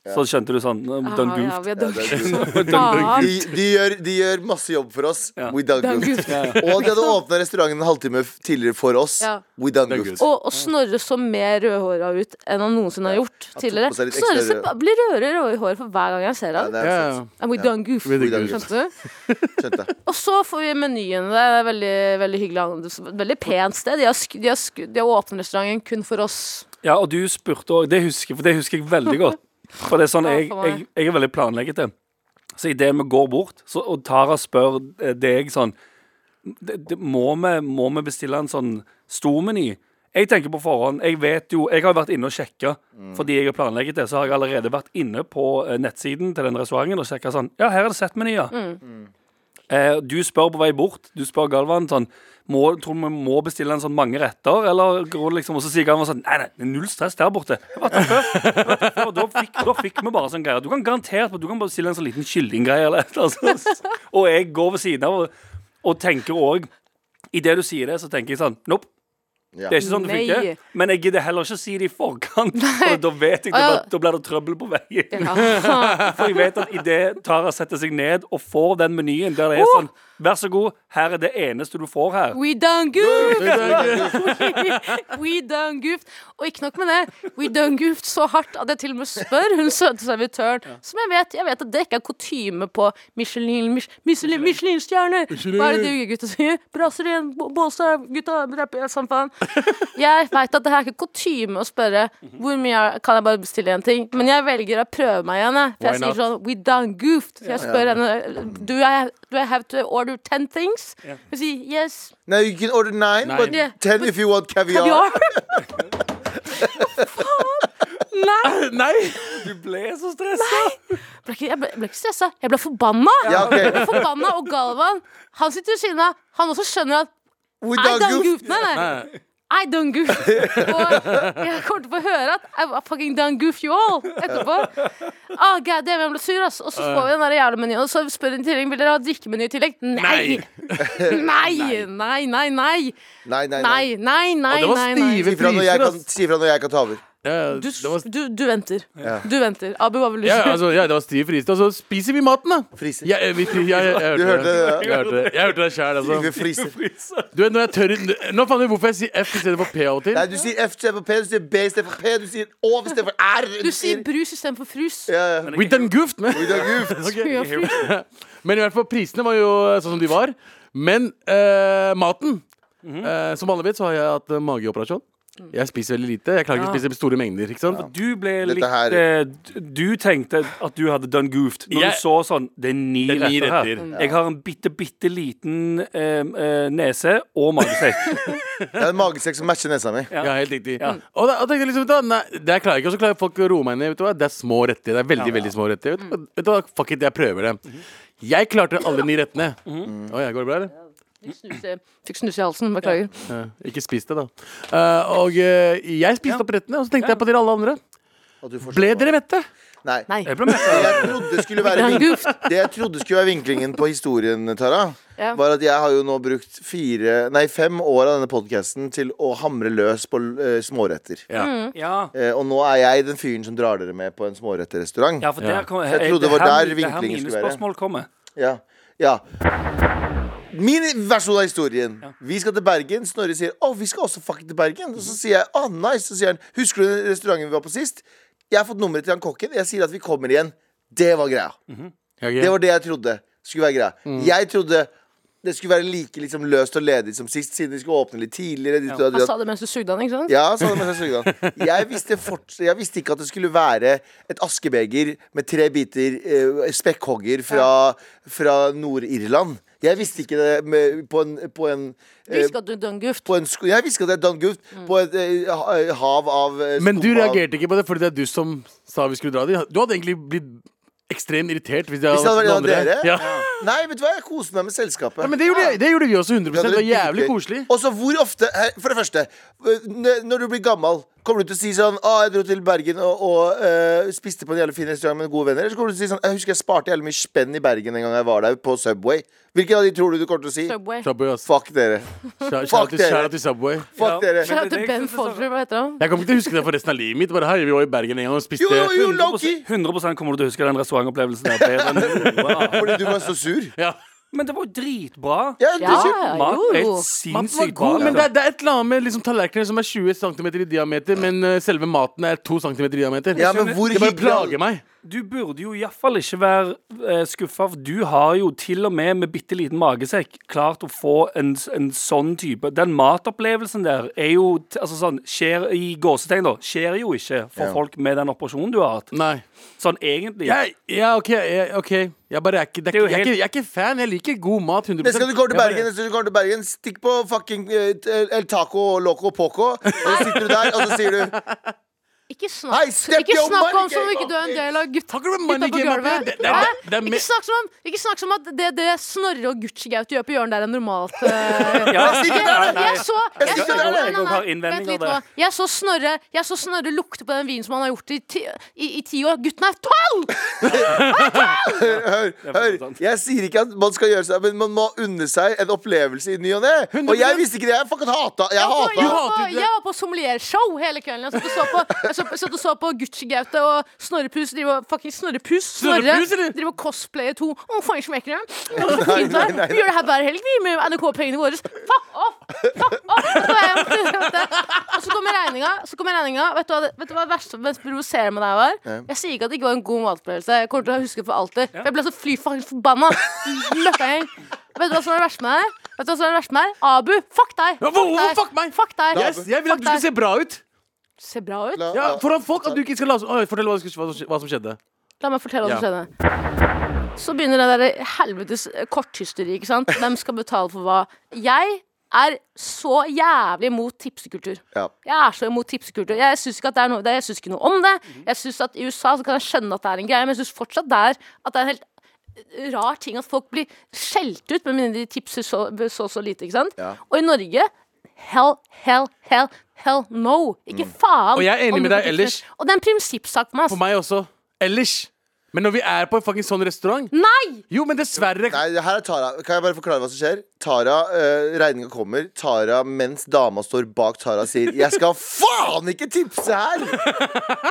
[SPEAKER 4] så skjønte du sånn "Nå, Done
[SPEAKER 5] Ah,
[SPEAKER 4] goofed.
[SPEAKER 5] ja, vi har done goofed.
[SPEAKER 3] De,
[SPEAKER 5] Faen.
[SPEAKER 3] de, gjør, de gjør masse jobb for oss.
[SPEAKER 4] Ja.
[SPEAKER 3] We done
[SPEAKER 5] Done
[SPEAKER 3] goofed.
[SPEAKER 5] goofed.
[SPEAKER 3] Og de hadde åpna restauranten en halvtime f- tidligere for oss.
[SPEAKER 5] Ja.
[SPEAKER 3] We done
[SPEAKER 6] Done
[SPEAKER 3] goofed.
[SPEAKER 6] goofed.
[SPEAKER 5] Og, og Snorre så mer rødhåra ut enn han noensinne har gjort tidligere.
[SPEAKER 3] på seg litt ekstra
[SPEAKER 5] Snorre ser,
[SPEAKER 3] rød.
[SPEAKER 5] blir rødere rød i håret for hver gang jeg ser
[SPEAKER 3] Ja,
[SPEAKER 5] han.
[SPEAKER 3] det
[SPEAKER 6] Ja,
[SPEAKER 3] er
[SPEAKER 6] ja.
[SPEAKER 3] sant.
[SPEAKER 5] And we done goofed.
[SPEAKER 6] We
[SPEAKER 3] done goofed.
[SPEAKER 5] Skjønte du?
[SPEAKER 3] Skjønte jeg.
[SPEAKER 5] Og så får vi menyen. Det er veldig, veldig hyggelig. an- Veldig pent sted. De har, sk de har, sk de har åpnet restauranten kun for oss.
[SPEAKER 4] Ja, og du spurte òg. Det, husker- for det husker jeg veldig godt. For det er sånn
[SPEAKER 5] Ja,
[SPEAKER 4] jeg,
[SPEAKER 5] for
[SPEAKER 4] jeg,
[SPEAKER 5] meg.
[SPEAKER 4] jeg er veldig planleggete. Så idet vi går bort, så, og Tara spør eh, deg sånn det, det, må, vi, må vi bestille en sånn stor meny? Jeg tenker på forhånd. Jeg vet jo, jeg har jo vært inne og sjekka. Fordi jeg er planleggete, så har jeg allerede vært inne på eh, nettsiden til den restauranten og sjekka sånn Ja, her er det
[SPEAKER 5] Mm.
[SPEAKER 4] settmenyer. Eh, du spør på vei bort. Du spør Galvan sånn må, Tror du vi må bestille en sånn mange retter? Eller går det liksom, Og så sier Galvan sånn Nei, nei, det er null stress der borte. Jeg var der før. Jeg var der før, og Da fikk, da fikk vi bare sånn greier. Du kan garantert du kan bare bestille en sånn liten kyllinggreie eller et eller annet. sånt. Og jeg går ved siden av og, og tenker òg Idet du sier det, så tenker jeg sånn Nope.
[SPEAKER 3] Ja.
[SPEAKER 4] Det er ikke sånn det
[SPEAKER 5] Nei.
[SPEAKER 4] funker. Men jeg gidder heller ikke å si det i forkant, for da vet jeg det,
[SPEAKER 5] Å, ja.
[SPEAKER 4] da blir det trøbbel på veien.
[SPEAKER 5] Ja.
[SPEAKER 4] For jeg vet at idet Tara setter seg ned og får den menyen der det er sånn Vær så god, her er det eneste du får her.
[SPEAKER 5] We done goofed! We done goofed. Og ikke nok med det, we done goofed så hardt at jeg til og med spør hun søte servitøren, som jeg vet jeg vet at det ikke er kutyme på Michelin- Mich- Michelin- Michelin-stjerner. Michelin Hva er det de unge gutta sier? Brasser igjen, bo- Bålstad, gutta, rapper, sånn faen. Jeg veit at det her er ikke kutyme å spørre hvor mye er, kan jeg bare bestille en ting, men jeg velger å prøve meg igjen, jeg. For jeg
[SPEAKER 6] Why
[SPEAKER 5] sier sånn we done goofed. Så jeg spør henne do I, do I have to order ten things? Hun sier yes.
[SPEAKER 3] Now you can order nine,
[SPEAKER 6] Nine.
[SPEAKER 3] but
[SPEAKER 5] Yeah,
[SPEAKER 3] ten if you want caviar.
[SPEAKER 5] Caviar? Faen! Nei!
[SPEAKER 6] Nei!
[SPEAKER 4] Du ble så stressa.
[SPEAKER 5] Jeg ble ikke, jeg ble, jeg ble ikke stressa. Jeg ble forbanna.
[SPEAKER 3] Ja, ok.
[SPEAKER 5] Jeg ble forbanna, Og Galvan han sitter ved siden av. Han også skjønner at
[SPEAKER 3] We
[SPEAKER 5] I
[SPEAKER 3] done
[SPEAKER 5] done
[SPEAKER 3] goofed.
[SPEAKER 5] goofed. Nei, nei. I done goofed. Og jeg kommer til å få høre at I fucking done goof you all etterpå. Ah, God damn, jeg ble sur, ass. Og så får vi den der jævla menyen, og så spør hun i tillegg vil dere ha drikkemeny i tillegg. Nei! Nei, nei, nei, nei.
[SPEAKER 3] Nei, nei, nei.
[SPEAKER 5] Nei, nei, nei,
[SPEAKER 6] Og det
[SPEAKER 5] nei,
[SPEAKER 6] var
[SPEAKER 5] nei.
[SPEAKER 3] Si
[SPEAKER 6] stive
[SPEAKER 3] fra når jeg
[SPEAKER 6] priser,
[SPEAKER 3] kan,
[SPEAKER 6] ass.
[SPEAKER 3] si fra når jeg kan ta over.
[SPEAKER 6] Ja,
[SPEAKER 5] Du,
[SPEAKER 6] det var,
[SPEAKER 5] du, du venter. Du venter. Abu, hva vil du
[SPEAKER 6] ja,
[SPEAKER 5] si?
[SPEAKER 6] altså, ja, det var stive priser. Og så spiser vi maten, da.
[SPEAKER 3] Friser.
[SPEAKER 6] Ja, jeg, vi, jeg, jeg, jeg,
[SPEAKER 3] Du hørte
[SPEAKER 6] hørte det.
[SPEAKER 3] det, ja.
[SPEAKER 6] Jeg hørte det, jeg hørte det sjæl,
[SPEAKER 3] Vi
[SPEAKER 6] altså.
[SPEAKER 3] friser.
[SPEAKER 6] Du vet, når jeg tør Nå fant jeg ut hvorfor jeg sier F istedenfor P av og til.
[SPEAKER 3] Nei, du sier F istedenfor P, du sier B istedenfor P, du sier Å istedenfor R.
[SPEAKER 5] Du sier brus istedenfor frus.
[SPEAKER 3] ja, ja.
[SPEAKER 6] We done goofed, man.
[SPEAKER 3] We done goofed.
[SPEAKER 5] Skulle jo ha frus.
[SPEAKER 6] Men i hvert fall, prisene var jo sånn som de var. Men eh, maten eh, Som alle vet, så har jeg hatt eh, mageoperasjon. Jeg spiser veldig lite. Jeg klarer ikke å spise store mengder. ikke sant?
[SPEAKER 4] Du ble litt
[SPEAKER 3] Dette her-
[SPEAKER 4] eh, d- Du tenkte at du hadde done goofed når
[SPEAKER 6] Jeg-
[SPEAKER 4] du så sånn Det er ni,
[SPEAKER 6] Det er ni
[SPEAKER 4] retter her.
[SPEAKER 6] retter.
[SPEAKER 4] Jeg har en bitte, bitte liten eh, eh, nese og magesekk.
[SPEAKER 3] Det er en magesekk som matcher nesa mi.
[SPEAKER 6] Ja, helt riktig. Og da, og tenkte jeg liksom, vet du hva, nei, det her klarer jeg ikke, og så klarer folk å roe meg ned. vet du hva Det er små retter. Det er veldig, veldig små retter. Vet, du hva, vet du hva, Fuck it, jeg prøver det. Jeg klarte alle ni rettene. Å ja, går det bra, eller?
[SPEAKER 5] Fikk snus i- Fikk snus i halsen. Beklager.
[SPEAKER 6] Ja, ikke spis det, da. Eh, og eh, jeg spiste opp rettene, og så tenkte jeg på dere alle andre.
[SPEAKER 3] At du fortsatt-
[SPEAKER 6] Ble dere mette?
[SPEAKER 3] Nei.
[SPEAKER 5] Nei.
[SPEAKER 4] Jeg ble mett.
[SPEAKER 3] Jeg trodde skulle være
[SPEAKER 5] Done
[SPEAKER 3] vink-
[SPEAKER 5] goofed.
[SPEAKER 3] Det jeg trodde skulle være vinklingen på historien, Tara,
[SPEAKER 5] Ja.
[SPEAKER 3] var at jeg har jo nå brukt fire, nei, fem år av denne podkasten til å hamre løs på eh, småretter.
[SPEAKER 6] Ja.
[SPEAKER 4] Ja.
[SPEAKER 3] Eh, og nå er jeg den fyren som drar dere med på en småretterrestaurant.
[SPEAKER 4] ja, for der kom
[SPEAKER 3] Jeg trodde det var
[SPEAKER 4] her-
[SPEAKER 3] der
[SPEAKER 4] det her
[SPEAKER 3] vinklingen
[SPEAKER 4] mine
[SPEAKER 3] skulle være.
[SPEAKER 4] spørsmål kommer.
[SPEAKER 3] Ja. ja. Min versjon av historien. Vi skal til Bergen. Snorre sier å, vi skal også fucking til Bergen. Og så sier jeg å, nice. Så sier han husker du den restauranten vi var på sist? Jeg har fått nummeret til han kokken. Jeg sier at vi kommer igjen. Det var greia. Det var det jeg trodde skulle være greia. Jeg trodde det skulle være like liksom, løst og ledig som sist, siden vi skulle åpne litt tidligere. Ditt, og
[SPEAKER 5] Han
[SPEAKER 3] datt.
[SPEAKER 5] sa det mens du sugde han, ikke sant?
[SPEAKER 3] Ja, sa det mens jeg sugde han. Jeg visste, fort, jeg visste ikke at det skulle være et askebeger med tre biter eh, spekkhogger fra, fra Nord-Irland. Jeg visste ikke det med, på en, på en,
[SPEAKER 5] Du
[SPEAKER 3] eh,
[SPEAKER 5] visste at Mm. du done goofed.
[SPEAKER 3] på en sko Jeg visste at det er Don Gooft på et eh, ha- hav av eh,
[SPEAKER 6] Men du
[SPEAKER 3] skum av-
[SPEAKER 6] reagerte ikke på det fordi det er du som sa vi skulle dra dit. Du hadde egentlig blitt ekstremt irritert hvis det
[SPEAKER 3] Hvis
[SPEAKER 6] hadde
[SPEAKER 3] det hadde
[SPEAKER 6] vært noen
[SPEAKER 3] vært
[SPEAKER 6] andre.
[SPEAKER 3] dere?
[SPEAKER 6] Ja.
[SPEAKER 3] Nei, vet du hva, jeg koser meg med selskapet.
[SPEAKER 6] Ja, men det gjorde, jeg- det gjorde vi også 100
[SPEAKER 3] Ja,
[SPEAKER 6] Det var
[SPEAKER 3] dere
[SPEAKER 6] jævlig
[SPEAKER 3] digger.
[SPEAKER 6] koselig.
[SPEAKER 3] Og så hvor ofte, her, for det første øh, n- Når du blir gammel Kommer du til å si sånn ah, 'Jeg dro til Bergen og, og øh, spiste på en jævlig fin restaurant med gode venner.' Eller så kommer du til å si sånn 'Jeg husker jeg sparte jævlig mye spenn i Bergen en gang jeg var der, på Subway'. Hvilken av de tror du du kommer til å si?
[SPEAKER 5] Subway.
[SPEAKER 6] Subway, ass.
[SPEAKER 3] Fuck dere. Fuck
[SPEAKER 6] Shout- Shout out til-
[SPEAKER 3] dere.
[SPEAKER 6] shout out til Subway.
[SPEAKER 3] Fuck
[SPEAKER 4] Ja.
[SPEAKER 3] dere.
[SPEAKER 5] Shout
[SPEAKER 4] Men
[SPEAKER 5] out
[SPEAKER 4] det
[SPEAKER 5] til
[SPEAKER 4] er
[SPEAKER 5] Ben
[SPEAKER 4] ikke så-
[SPEAKER 5] Foldry, hva heter han?
[SPEAKER 6] Jeg kommer ikke til å huske det for resten av livet mitt. Bare hei, vi var i Bergen en gang og spiste
[SPEAKER 3] Jo, jo, jo, Loki!
[SPEAKER 4] 100, 100 kommer du til å huske den restaurantopplevelsen der bedre enn noe annet.
[SPEAKER 3] Fordi du var så sur.
[SPEAKER 6] Ja.
[SPEAKER 4] Men det var jo dritbra.
[SPEAKER 3] Ja, du,
[SPEAKER 5] Ja,
[SPEAKER 4] Mat
[SPEAKER 5] jo,
[SPEAKER 4] er helt
[SPEAKER 5] jo.
[SPEAKER 6] Maten var
[SPEAKER 4] sinnssykt bra.
[SPEAKER 6] god, men det er,
[SPEAKER 4] liksom.
[SPEAKER 6] det er et eller annet med liksom, tallerkener som er 20 cm i diameter, men eh, selve maten er 2 cm i diameter.
[SPEAKER 3] ja, men hvor
[SPEAKER 6] det bare plager
[SPEAKER 3] hyggelig
[SPEAKER 6] meg.
[SPEAKER 4] Du burde jo iallfall ikke være eh, skuffa. Du har jo til og med med bitte liten magesekk klart å få en, s- en sånn type Den matopplevelsen der er jo t- altså sånn, skjer i gåsetegn, da. Skjer jo ikke for
[SPEAKER 3] Ja.
[SPEAKER 4] folk med den operasjonen du har hatt.
[SPEAKER 6] Nei.
[SPEAKER 4] Sånn egentlig.
[SPEAKER 6] Jeg, ja, OK. Jeg, ok. jeg bare er ikke, det er,
[SPEAKER 4] Det er jo
[SPEAKER 6] ikke- jeg, er ikke
[SPEAKER 4] helt-
[SPEAKER 6] jeg er ikke fan. Jeg liker god mat 100
[SPEAKER 3] Neste gang du kommer til
[SPEAKER 6] Jeg bare-
[SPEAKER 3] Bergen, neste gang du kommer til Bergen stikk på fucking eh, El Taco Loco Poco. Og så sitter du der, og så sier du
[SPEAKER 5] Ikke snakk,
[SPEAKER 3] Hei, step
[SPEAKER 5] ikke
[SPEAKER 3] your money
[SPEAKER 5] snakk om som om ikke
[SPEAKER 3] game
[SPEAKER 5] du er en del av gutta,
[SPEAKER 6] Talk about
[SPEAKER 5] gutta
[SPEAKER 6] money
[SPEAKER 5] på
[SPEAKER 6] game up
[SPEAKER 5] gulvet.
[SPEAKER 6] here. Det- det-
[SPEAKER 5] Hæ?
[SPEAKER 6] det er me-
[SPEAKER 5] Ikke snakk som om, ikke snakk som at det, det Snorre og Gucci-Gaute gjør på hjørnet, der er normalt. eh,
[SPEAKER 4] Ja,
[SPEAKER 5] Jeg, jeg så
[SPEAKER 3] Jeg
[SPEAKER 5] jeg
[SPEAKER 3] synes
[SPEAKER 5] så-
[SPEAKER 3] det er det.
[SPEAKER 5] nei, nei,
[SPEAKER 4] Jeg har
[SPEAKER 5] nei,
[SPEAKER 4] innvendinger
[SPEAKER 5] vent litt
[SPEAKER 4] der.
[SPEAKER 5] nå. Jeg så Snorre Jeg så Snorre lukte på den vinen som han har gjort i ti, i, i ti år. Gutten er tolv!
[SPEAKER 3] Hør, hør, jeg sier ikke at man skal gjøre seg Men man må unne seg en opplevelse i ny og ne. Og jeg visste ikke det. Jeg fucking hata Jeg
[SPEAKER 5] Jeg, var- jeg,
[SPEAKER 3] hata
[SPEAKER 5] var på-
[SPEAKER 6] Hater du det?
[SPEAKER 5] jeg var på sommeliershow hele kvelden. Jeg satt og så på, jeg så, satt og så på Gucci-Gaute og Snorre Pus. driver- Fucking Snorre Pus. Snorre
[SPEAKER 6] Snorre Pus, eller?
[SPEAKER 5] driver og cosplayer to. Å, faen, så mekker det. Å, så fint det er. Vi gjør det her hver helg, vi, med NRK-pengene våre. Fuck off! Fuck off! Så var jeg- vet du. Og så kommer regninga. Så kommer regninga. Vet du hva det vet du hva det verste som provoserer med deg var? Jeg sier ikke at det ikke var en god matopplevelse. Jeg kommer til å huske det for alltid. For jeg ble så fly fucking forbanna. Møkkagjeng. Vet du hva som er det verste med det? Vet du hva som er det verste med det? Abu, fuck deg!
[SPEAKER 6] Ja, hvor- hvor-
[SPEAKER 5] deg.
[SPEAKER 6] fuck meg?
[SPEAKER 5] Fuck deg.
[SPEAKER 6] Yes, jeg vil at
[SPEAKER 5] Fuck
[SPEAKER 6] du skal
[SPEAKER 5] deg.
[SPEAKER 6] se bra ut.
[SPEAKER 5] Ser bra ut.
[SPEAKER 3] La-
[SPEAKER 5] La,
[SPEAKER 6] Ja, Foran folk. At du ikke skal la som- Oi, Fortell hva som- hva som hva som skjedde.
[SPEAKER 5] meg fortelle hva som skjedde. Så begynner det der helvetes eh, korthysteri. ikke sant? Hvem skal betale for hva? Jeg er så jævlig imot tipsekultur.
[SPEAKER 3] Ja.
[SPEAKER 5] Jeg er så imot tipsekultur. Jeg syns ikke, at det er noe, det- jeg synes ikke noe om det. Jeg synes at I USA så kan jeg skjønne at det er en greie, men jeg syns fortsatt det er, at det er en helt eh, rar ting at folk blir skjelt ut, med mindre de tipser så så, så lite. ikke sant?
[SPEAKER 3] Ja.
[SPEAKER 5] Og i Norge hell, hell, hell, hell no. Ikke faen.
[SPEAKER 6] Mm. Og jeg er enig
[SPEAKER 5] om
[SPEAKER 6] med
[SPEAKER 5] du
[SPEAKER 6] deg
[SPEAKER 5] får tipser.
[SPEAKER 6] ellers.
[SPEAKER 5] Og det er en prinsippsak for meg. altså. ass.
[SPEAKER 6] På meg også. Ellers. Men når vi er på en fucking sånn restaurant
[SPEAKER 5] Nei!
[SPEAKER 6] Jo, men dessverre.
[SPEAKER 3] Nei, det her er Tara. Kan jeg bare forklare hva som skjer? Tara, eh, Regninga kommer. Tara, mens dama står bak Tara, sier 'Jeg skal faen ikke tipse her'!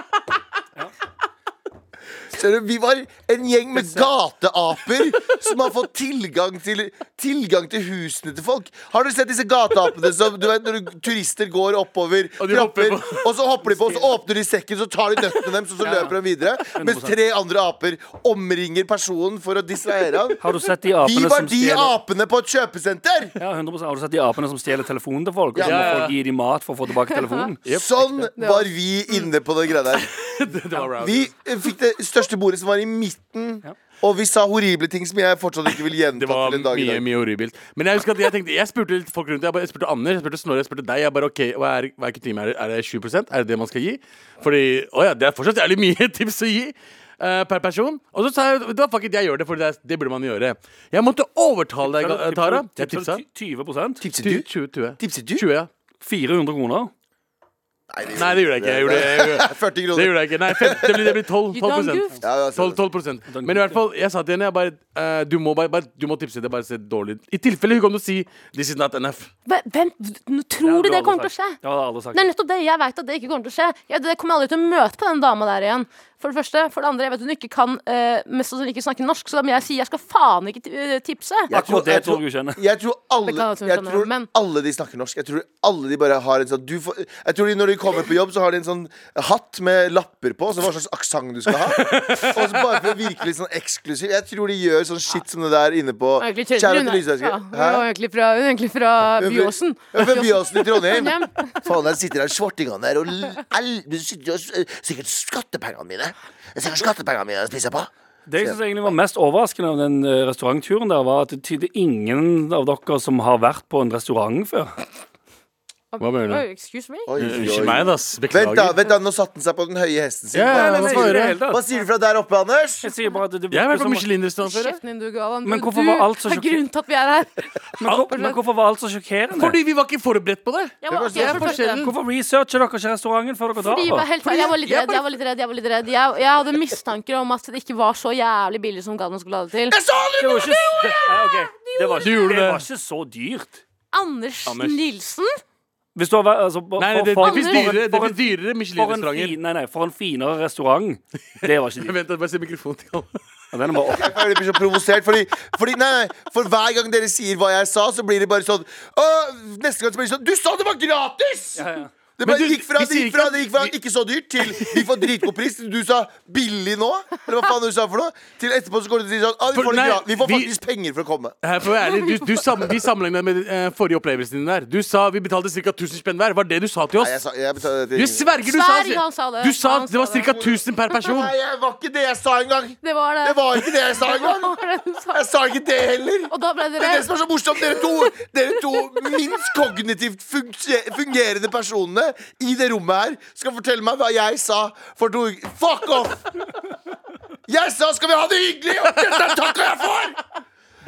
[SPEAKER 3] Skjønner du, Vi var en gjeng med gateaper som har fått tilgang til, tilgang til husene til folk. Har du sett disse gateapene som du vet, når du, turister går oppover
[SPEAKER 6] Og de hopper
[SPEAKER 3] trapper,
[SPEAKER 6] på.
[SPEAKER 3] og så hopper de på, og så åpner de sekken, så tar de nøttene deres, og så løper de videre? Mens tre andre aper omringer personen for å distrahere han.
[SPEAKER 4] Har du sett de
[SPEAKER 3] Vi
[SPEAKER 4] apene
[SPEAKER 3] var
[SPEAKER 4] som
[SPEAKER 3] de
[SPEAKER 4] stjeler
[SPEAKER 3] apene på et kjøpesenter!
[SPEAKER 4] Ja, 100 Har du sett de apene som stjeler telefonen til folk? Og så
[SPEAKER 6] Ja,
[SPEAKER 4] må
[SPEAKER 6] ja, ja.
[SPEAKER 4] folk gi dem mat for å få tilbake telefonen?
[SPEAKER 3] Sånn var vi inne på den greia der.
[SPEAKER 6] Det var bra. altså.
[SPEAKER 3] Vi eh, fikk det største bordet som var i midten, og vi sa horrible ting som jeg fortsatt ikke vil gjenta
[SPEAKER 6] Det var
[SPEAKER 3] til en dag i
[SPEAKER 6] mye,
[SPEAKER 3] dag.
[SPEAKER 6] mye horribelt. Men jeg husker at jeg tenkte Jeg spurte litt folk rundt. Jeg, bare, jeg spurte Anders, jeg spurte Snorre, jeg spurte deg. Jeg bare, ok, hva er, hva er kutyme? Er, det- er det 20 Er det det man skal gi? Fordi Å ja, det er fortsatt jævlig mye tips å gi. eh, per person. Og så sa jeg vet du hva, fuck it, jeg gjør det, for det, er- det burde man gjøre. Jeg måtte overtale deg, eh, Tara. Jeg
[SPEAKER 4] Tipser
[SPEAKER 6] tipsa.
[SPEAKER 4] du 20
[SPEAKER 3] Tipset du?
[SPEAKER 6] 20, 20.
[SPEAKER 3] Tipset du?
[SPEAKER 6] 20, ja.
[SPEAKER 4] 400 kroner?
[SPEAKER 6] Nei, det gjorde jeg ikke. Jeg gjorde, jeg gjorde,
[SPEAKER 3] 40
[SPEAKER 6] det
[SPEAKER 3] kroner.
[SPEAKER 6] gjorde jeg ikke. Nei, 50, det blir- det blir 12,
[SPEAKER 5] You
[SPEAKER 6] 12
[SPEAKER 5] don't
[SPEAKER 6] prosent.
[SPEAKER 5] goof.
[SPEAKER 3] Ja, ja, så-
[SPEAKER 6] 12, 12 prosent. Men i hvert fall, jeg sa til henne jeg bare, eh, du, må bare, bare, du må tipse det, bare se dårlig ut. I tilfelle hun kommer til å si 'this is not enough'.
[SPEAKER 5] Hve- Hvem nå tror du det kommer til å skje?
[SPEAKER 4] Ja, det har jeg aldri sagt.
[SPEAKER 5] Det er nettopp det. Jeg vet at det ikke kommer til å skje. Jeg, det kommer jeg aldri til å møte på den dama der igjen. For det første. For det andre, jeg vet hun ikke kan eh, mest sannsynlig ikke snakke norsk, så da må jeg si jeg skal faen ikke ti- eh, tipse.
[SPEAKER 3] Jeg
[SPEAKER 4] Akkurat
[SPEAKER 3] jeg
[SPEAKER 4] det tror jeg hun kjenner.
[SPEAKER 3] Jeg tror alle,
[SPEAKER 5] Beklager at hun
[SPEAKER 3] jeg
[SPEAKER 5] skjønner,
[SPEAKER 3] tror
[SPEAKER 5] men-
[SPEAKER 3] alle de snakker norsk. Jeg tror alle de bare har en sånn du får, Jeg tror de når de kommer på jobb, så har de en sånn hatt med lapper på, så hva slags aksent du skal ha. Og så bare for å virke litt sånn eksklusiv. Jeg tror de gjør sånn shit som det der inne på
[SPEAKER 5] Hun er
[SPEAKER 3] Kjære
[SPEAKER 5] egentlig trønder, hun
[SPEAKER 3] til
[SPEAKER 5] er-
[SPEAKER 3] Lysverket.
[SPEAKER 5] Ja, hun er egentlig fra, hun er egentlig fra Byåsen.
[SPEAKER 3] Ja, Fra Byåsen i Trondheim.
[SPEAKER 5] Trondheim.
[SPEAKER 3] Faen, der sitter der svartingene der og l- el- du sitter og s- Sikkert skattepengene mine. Det er Sikkert skattepengene mine jeg spiser på.
[SPEAKER 4] Det jeg synes egentlig var mest overraskende av den eh, restaurantturen der, var at det tyder ingen av dere som har vært på en restaurant før.
[SPEAKER 6] Hva mener du?
[SPEAKER 5] Oi, excuse me?
[SPEAKER 3] Oi,
[SPEAKER 6] Ikke meg, da. ass.
[SPEAKER 3] Vent, da.
[SPEAKER 6] Beklager.
[SPEAKER 3] vent da, Nå satte han seg på den høye hesten sin.
[SPEAKER 6] Ja, ja,
[SPEAKER 3] Hva-
[SPEAKER 6] ja,
[SPEAKER 3] hva
[SPEAKER 6] hva
[SPEAKER 3] sier
[SPEAKER 6] får
[SPEAKER 3] du?
[SPEAKER 6] jeg
[SPEAKER 4] det hele tatt.
[SPEAKER 3] Hva sier du fra der oppe, Anders?
[SPEAKER 4] Jeg sier bare at det
[SPEAKER 6] Jeg
[SPEAKER 4] virker
[SPEAKER 6] har vært på
[SPEAKER 4] som-
[SPEAKER 6] Michelin-restaurant før. jeg.
[SPEAKER 5] Kjeften din, du, Galvan.
[SPEAKER 4] Men hvorfor
[SPEAKER 5] du
[SPEAKER 4] var alt så
[SPEAKER 5] er
[SPEAKER 4] sjokk-
[SPEAKER 5] grunnen til at vi er her.
[SPEAKER 4] Men, hvor- men hvorfor var alt så sjokkerende?
[SPEAKER 6] Fordi vi var ikke forberedt på det.
[SPEAKER 5] Jeg
[SPEAKER 3] Det
[SPEAKER 5] var, ok, jeg
[SPEAKER 6] er
[SPEAKER 5] forstår det.
[SPEAKER 6] forskjellen.
[SPEAKER 4] Hvorfor researcher dere ikke restauranten før dere
[SPEAKER 5] Fordi jeg
[SPEAKER 4] drar?
[SPEAKER 5] var
[SPEAKER 4] da?
[SPEAKER 5] helt jeg var litt redd, jeg var litt redd. Jeg, var litt redd. jeg, jeg hadde mistanker om at det ikke var så jævlig billig som Galvan skulle ha det til.
[SPEAKER 3] Jeg sa det!
[SPEAKER 4] Det var ikke, det, Nei, ok. det, var
[SPEAKER 6] Du
[SPEAKER 4] ikke,
[SPEAKER 6] gjorde
[SPEAKER 4] det var
[SPEAKER 6] det.
[SPEAKER 4] ikke så dyrt.
[SPEAKER 5] Anders,
[SPEAKER 6] Anders.
[SPEAKER 5] Nilsen?
[SPEAKER 4] Hvis du har vært altså, for,
[SPEAKER 6] Nei, nei, det,
[SPEAKER 4] for,
[SPEAKER 6] det
[SPEAKER 5] faen.
[SPEAKER 6] fins dyrere, det
[SPEAKER 4] For
[SPEAKER 6] finnes
[SPEAKER 4] en-
[SPEAKER 6] dyrere
[SPEAKER 4] for en fin,
[SPEAKER 6] Michelin-restauranter.
[SPEAKER 4] nei, nei, for en finere restaurant. Det var ikke dyrt.
[SPEAKER 6] Vent, bare se mikrofonen til alle.
[SPEAKER 4] Ja, Den er bare opp.
[SPEAKER 3] Jeg føler jeg blir så provosert, fordi, fordi nei, nei, for hver gang dere sier hva jeg sa, så blir det bare sånn «Åh, Neste gang så blir det sånn Du sa det var gratis!
[SPEAKER 4] Ja, ja.
[SPEAKER 3] Det bare
[SPEAKER 6] Men du,
[SPEAKER 3] gikk fra,
[SPEAKER 6] vi
[SPEAKER 3] det gikk
[SPEAKER 6] sier
[SPEAKER 3] fra,
[SPEAKER 6] ikke-
[SPEAKER 3] det gikk fra
[SPEAKER 6] vi-
[SPEAKER 3] ikke så dyrt til vi får dritgod pris. til Du sa 'billig nå', eller hva faen du sa for noe. Til etterpå så går du til å si sånn «Ah, vi,
[SPEAKER 6] For-
[SPEAKER 3] får det
[SPEAKER 6] nei,
[SPEAKER 3] gra- 'Vi får
[SPEAKER 6] vi-
[SPEAKER 3] faktisk penger for å komme'.
[SPEAKER 6] Her får jeg være ærlig, du, du sam, Vi sammenlignet med eh, forrige opplevelsen din der. Du sa vi betalte ca. 1000 spenn hver. Var det du sa til
[SPEAKER 3] Nei, jeg
[SPEAKER 6] oss?
[SPEAKER 3] sa, jeg betalte
[SPEAKER 6] Du
[SPEAKER 3] det til
[SPEAKER 6] sverger, du
[SPEAKER 5] Sverg, han
[SPEAKER 6] sa
[SPEAKER 5] sa det.
[SPEAKER 6] Du sa
[SPEAKER 5] Han
[SPEAKER 6] det var
[SPEAKER 5] sa det.
[SPEAKER 6] ca. 1000 per person.
[SPEAKER 3] Nei, jeg var ikke det jeg sa engang!
[SPEAKER 5] Det var det.
[SPEAKER 3] Det var ikke det jeg sa
[SPEAKER 5] Det
[SPEAKER 3] engang!
[SPEAKER 5] var det du sa.
[SPEAKER 3] Jeg sa ikke det heller!
[SPEAKER 5] Og da ble
[SPEAKER 3] Det er det
[SPEAKER 5] dere
[SPEAKER 3] som er så morsomt. Dere to, dere to minst kognitivt funge- fungerende personene alle i det rommet her skal fortelle meg hva jeg sa for to uker Fuck off! Jeg sa 'skal vi ha det hyggelig', og dette er takka jeg får!